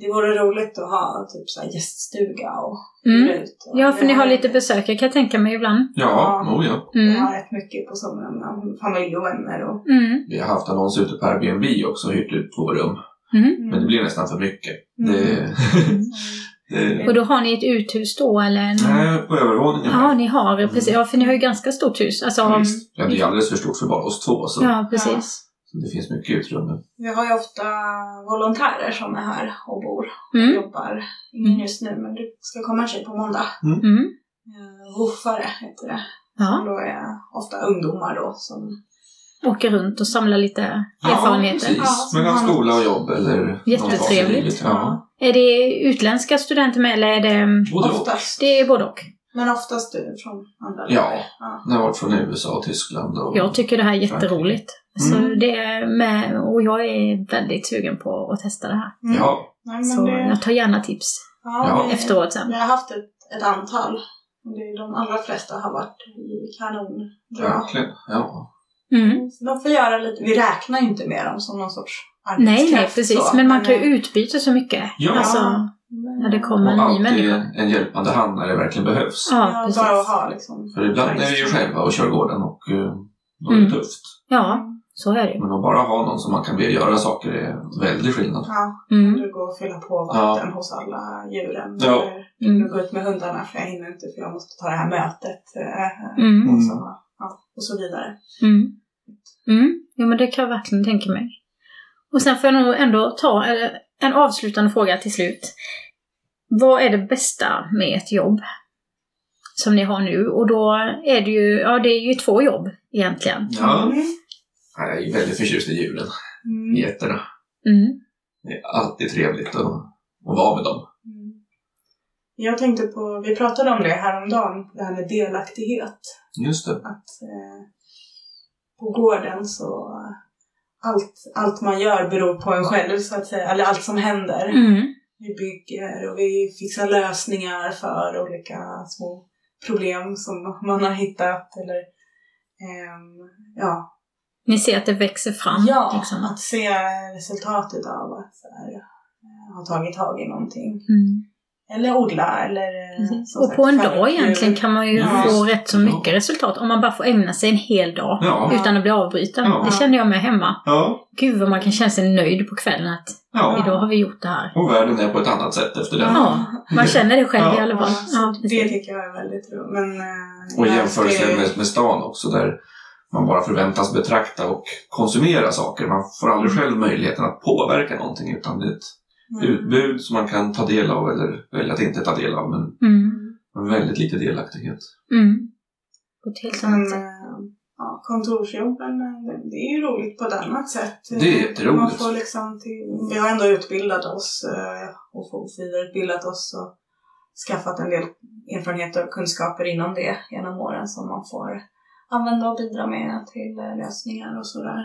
Det vore roligt att ha typ så här gäststuga och
Mm.
hyra ut. Och
Ja, för
vi
ni har lite besökare kan jag tänka mig ibland.
Ja, oh ja.
Vi
Mm.
har rätt mycket på somrarna, familj och vänner och...
Mm.
Vi har haft annons ute på Airbnb också och hyrt ut två rum.
Mm.
Men det blir nästan för mycket. Det, det,
Och då har ni ett uthus då, eller? En...
nej, på övervåningen.
Ja, ni har precis. Ja, för ni har ju ganska stort hus. Alltså,
Ja,
om-
visst. Ja, det är ju alldeles för stort för bara oss två. Så
ja precis.
det finns mycket utrymme.
Vi har ju ofta volontärer som är här och bor och
Mm.
jobbar. Ingen just nu, men det ska komma en tjej på måndag.
Mm.
Eh, Woofare heter det. Och
Ja,
då är ofta ungdomar då som...
åker runt och samlar lite erfarenheter.
Ja, precis.
Ja,
Mellan
som
skola och jobb eller någon fas i
Jättetrevligt.
livet. Ja.
Är det utländska studenter med, eller är det...
Både och.
Oftast.
Det är både och.
Men oftast du från andra
Ja,
Ja.
det har varit från USA och Tyskland. Och...
Jag tycker det här är jätteroligt. Så
Mm.
det är med, och jag är väldigt sugen på att testa det här.
Mm.
Ja,
Nej,
Så
men det,
jag tar gärna tips
ja,
Ja.
vi-
efteråt sen.
Vi har haft ett, ett antal. Och det är de allra flesta har varit i kanon. bra.
verkligen. Ja.
Mm.
Så de får göra lite, vi räknar ju inte med dem som någon sorts arbetskraft.
Nej, nej, precis.
så. eh,
Men man kan ju utbyta så mycket.
Ja.
Alltså, när det
Och
kommer en ny
alltid
människa.
en hjälpande hand när det verkligen behövs.
Ja,
Ja,
precis.
bara att ha liksom.
För ibland är vi ju själva och kör gården och eh, då är det
Mm.
tufft.
Ja, så är det ju.
Men att bara ha någon som man kan be göra saker är väldigt skillnad.
Ja,
Mm.
du går och fylla på vatten hos alla djuren.
Ja.
Eller du
Mm.
går ut med hundarna för jag hinner inte för jag måste ta det här mötet. eh,
Mm.
Och,
Mm.
så, ja, och så vidare.
Mm. Mm. Jo, men det kan jag verkligen tänka mig. Och sen får jag nog ändå ta eh, en avslutande fråga till slut. Vad är det bästa med ett jobb? Som ni har nu. Och då är det ju, ja det är ju två jobb egentligen.
Ja.
Mm.
Jag är ju väldigt förtjust i djuren,
Mm.
i getterna.
Mm.
Det är alltid trevligt att, att vara med dem.
Mm. Jag tänkte på, vi pratade om det häromdagen, det här med delaktighet.
Just det.
att eh, på gården så eh, allt, allt man gör beror på en själv så att säga, eller allt som händer.
Mm.
Vi bygger och vi fixar lösningar för olika små problem som man har hittat eller ehm, ja,
Ni ser att det växer fram.
ja
Liksom.
att se resultatet av att så här, eh, ha tagit tag i någonting.
Mm.
Eller odla eller eh,
Precis.
som
Mm. Och
sagt,
på en
skärpa
dag
djur.
egentligen kan man ju
Ja,
få
visst.
rätt så mycket resultat om man bara får ägna sig en hel dag
Ja.
utan att bli avbruten.
Ja.
Det känner jag med hemma.
Ja.
Gud vad man kan känna sig nöjd på kvällen att
ja.
idag har vi gjort det här.
Och världen är på ett annat sätt efter det.
Ja, man känner det själv i
Ja.
alla
Ja,
fall.
så
Ja,
det
precis.
tycker jag är väldigt roligt. Men, eh,
Och i
ja,
jämförelse
det-
med, med stan också där man bara förväntas betrakta och konsumera saker. Man får aldrig själv möjligheten att påverka någonting utan det är ett
Mm.
utbud som man kan ta del av eller välja att inte ta del av. Men
Mm.
men väldigt lite delaktighet.
Mm. På ett helt annat
Mm.
Men,
sätt.
eh, ja, kontorsjobben, eh, det- det är ju roligt på ett annat sätt. Eh,
Det är jätteroligt.
Man får liksom till, vi har ändå utbildat oss eh, och fått vidareutbildat oss och skaffat en del erfarenheter och kunskaper inom det genom åren som man får använda och bidra med till eh, lösningar och sådär.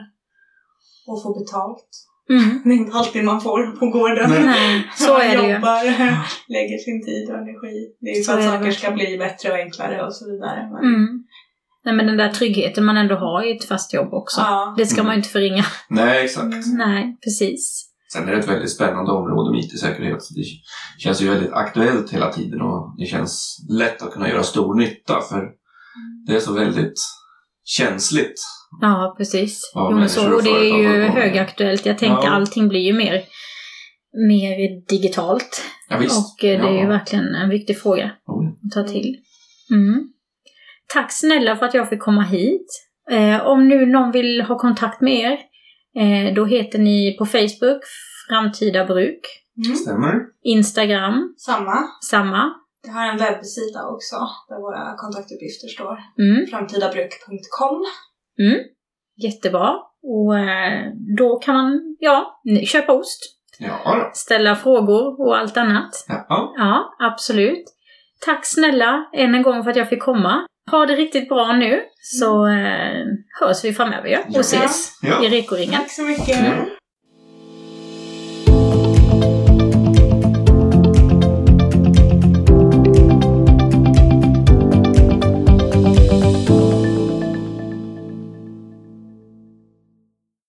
Och få betalt.
Mm.
Det är inte alltid man får på gården.
Nej.
Nej, så är det
man
ju.
jobbar, lägger sin tid och energi. Det är ju
Så
för att
är det
saker ska
verkligen.
bli bättre och enklare och så vidare. Men,
Mm. Nej, men den där tryggheten man ändå har i ett fast jobb också.
ja.
Det ska
Mm.
man ju inte förringa.
Nej, exakt.
Mm.
Nej, precis.
Sen är det ett väldigt spännande område med IT-säkerhet. Det känns ju väldigt aktuellt hela tiden och det känns lätt att kunna göra stor nytta för det är så väldigt känsligt.
Ja, precis.
Ja,
jo, men
människor
så,
och
och det är
företag
ju
och-
högaktuellt. Jag tänker
Ja.
allting blir ju mer, mer digitalt.
Ja, visst.
Och eh, det är ju
Ja.
verkligen en viktig fråga
Oh, ja.
att ta till. Mm. Tack snälla för att jag fick komma hit. Eh, om nu någon vill ha kontakt med er, eh, då heter ni på Facebook Framtida Bruk,
Mm.
Stämmer.
Instagram
Samma.
samma.
Jag har en webbsida också där våra kontaktuppgifter står.
Mm.
Framtidabruk.com.
Jättebra. Och eh, då kan man, ja, n- köpa ost,
Ja, då.
ställa frågor och allt annat.
ja.
Ja, absolut. Tack snälla än en gång för att jag fick komma. Ha det riktigt bra nu så eh, hörs vi framöver ja, och
Ja.
ses
ja.
i Rekoringen.
Tack så mycket!
Ja.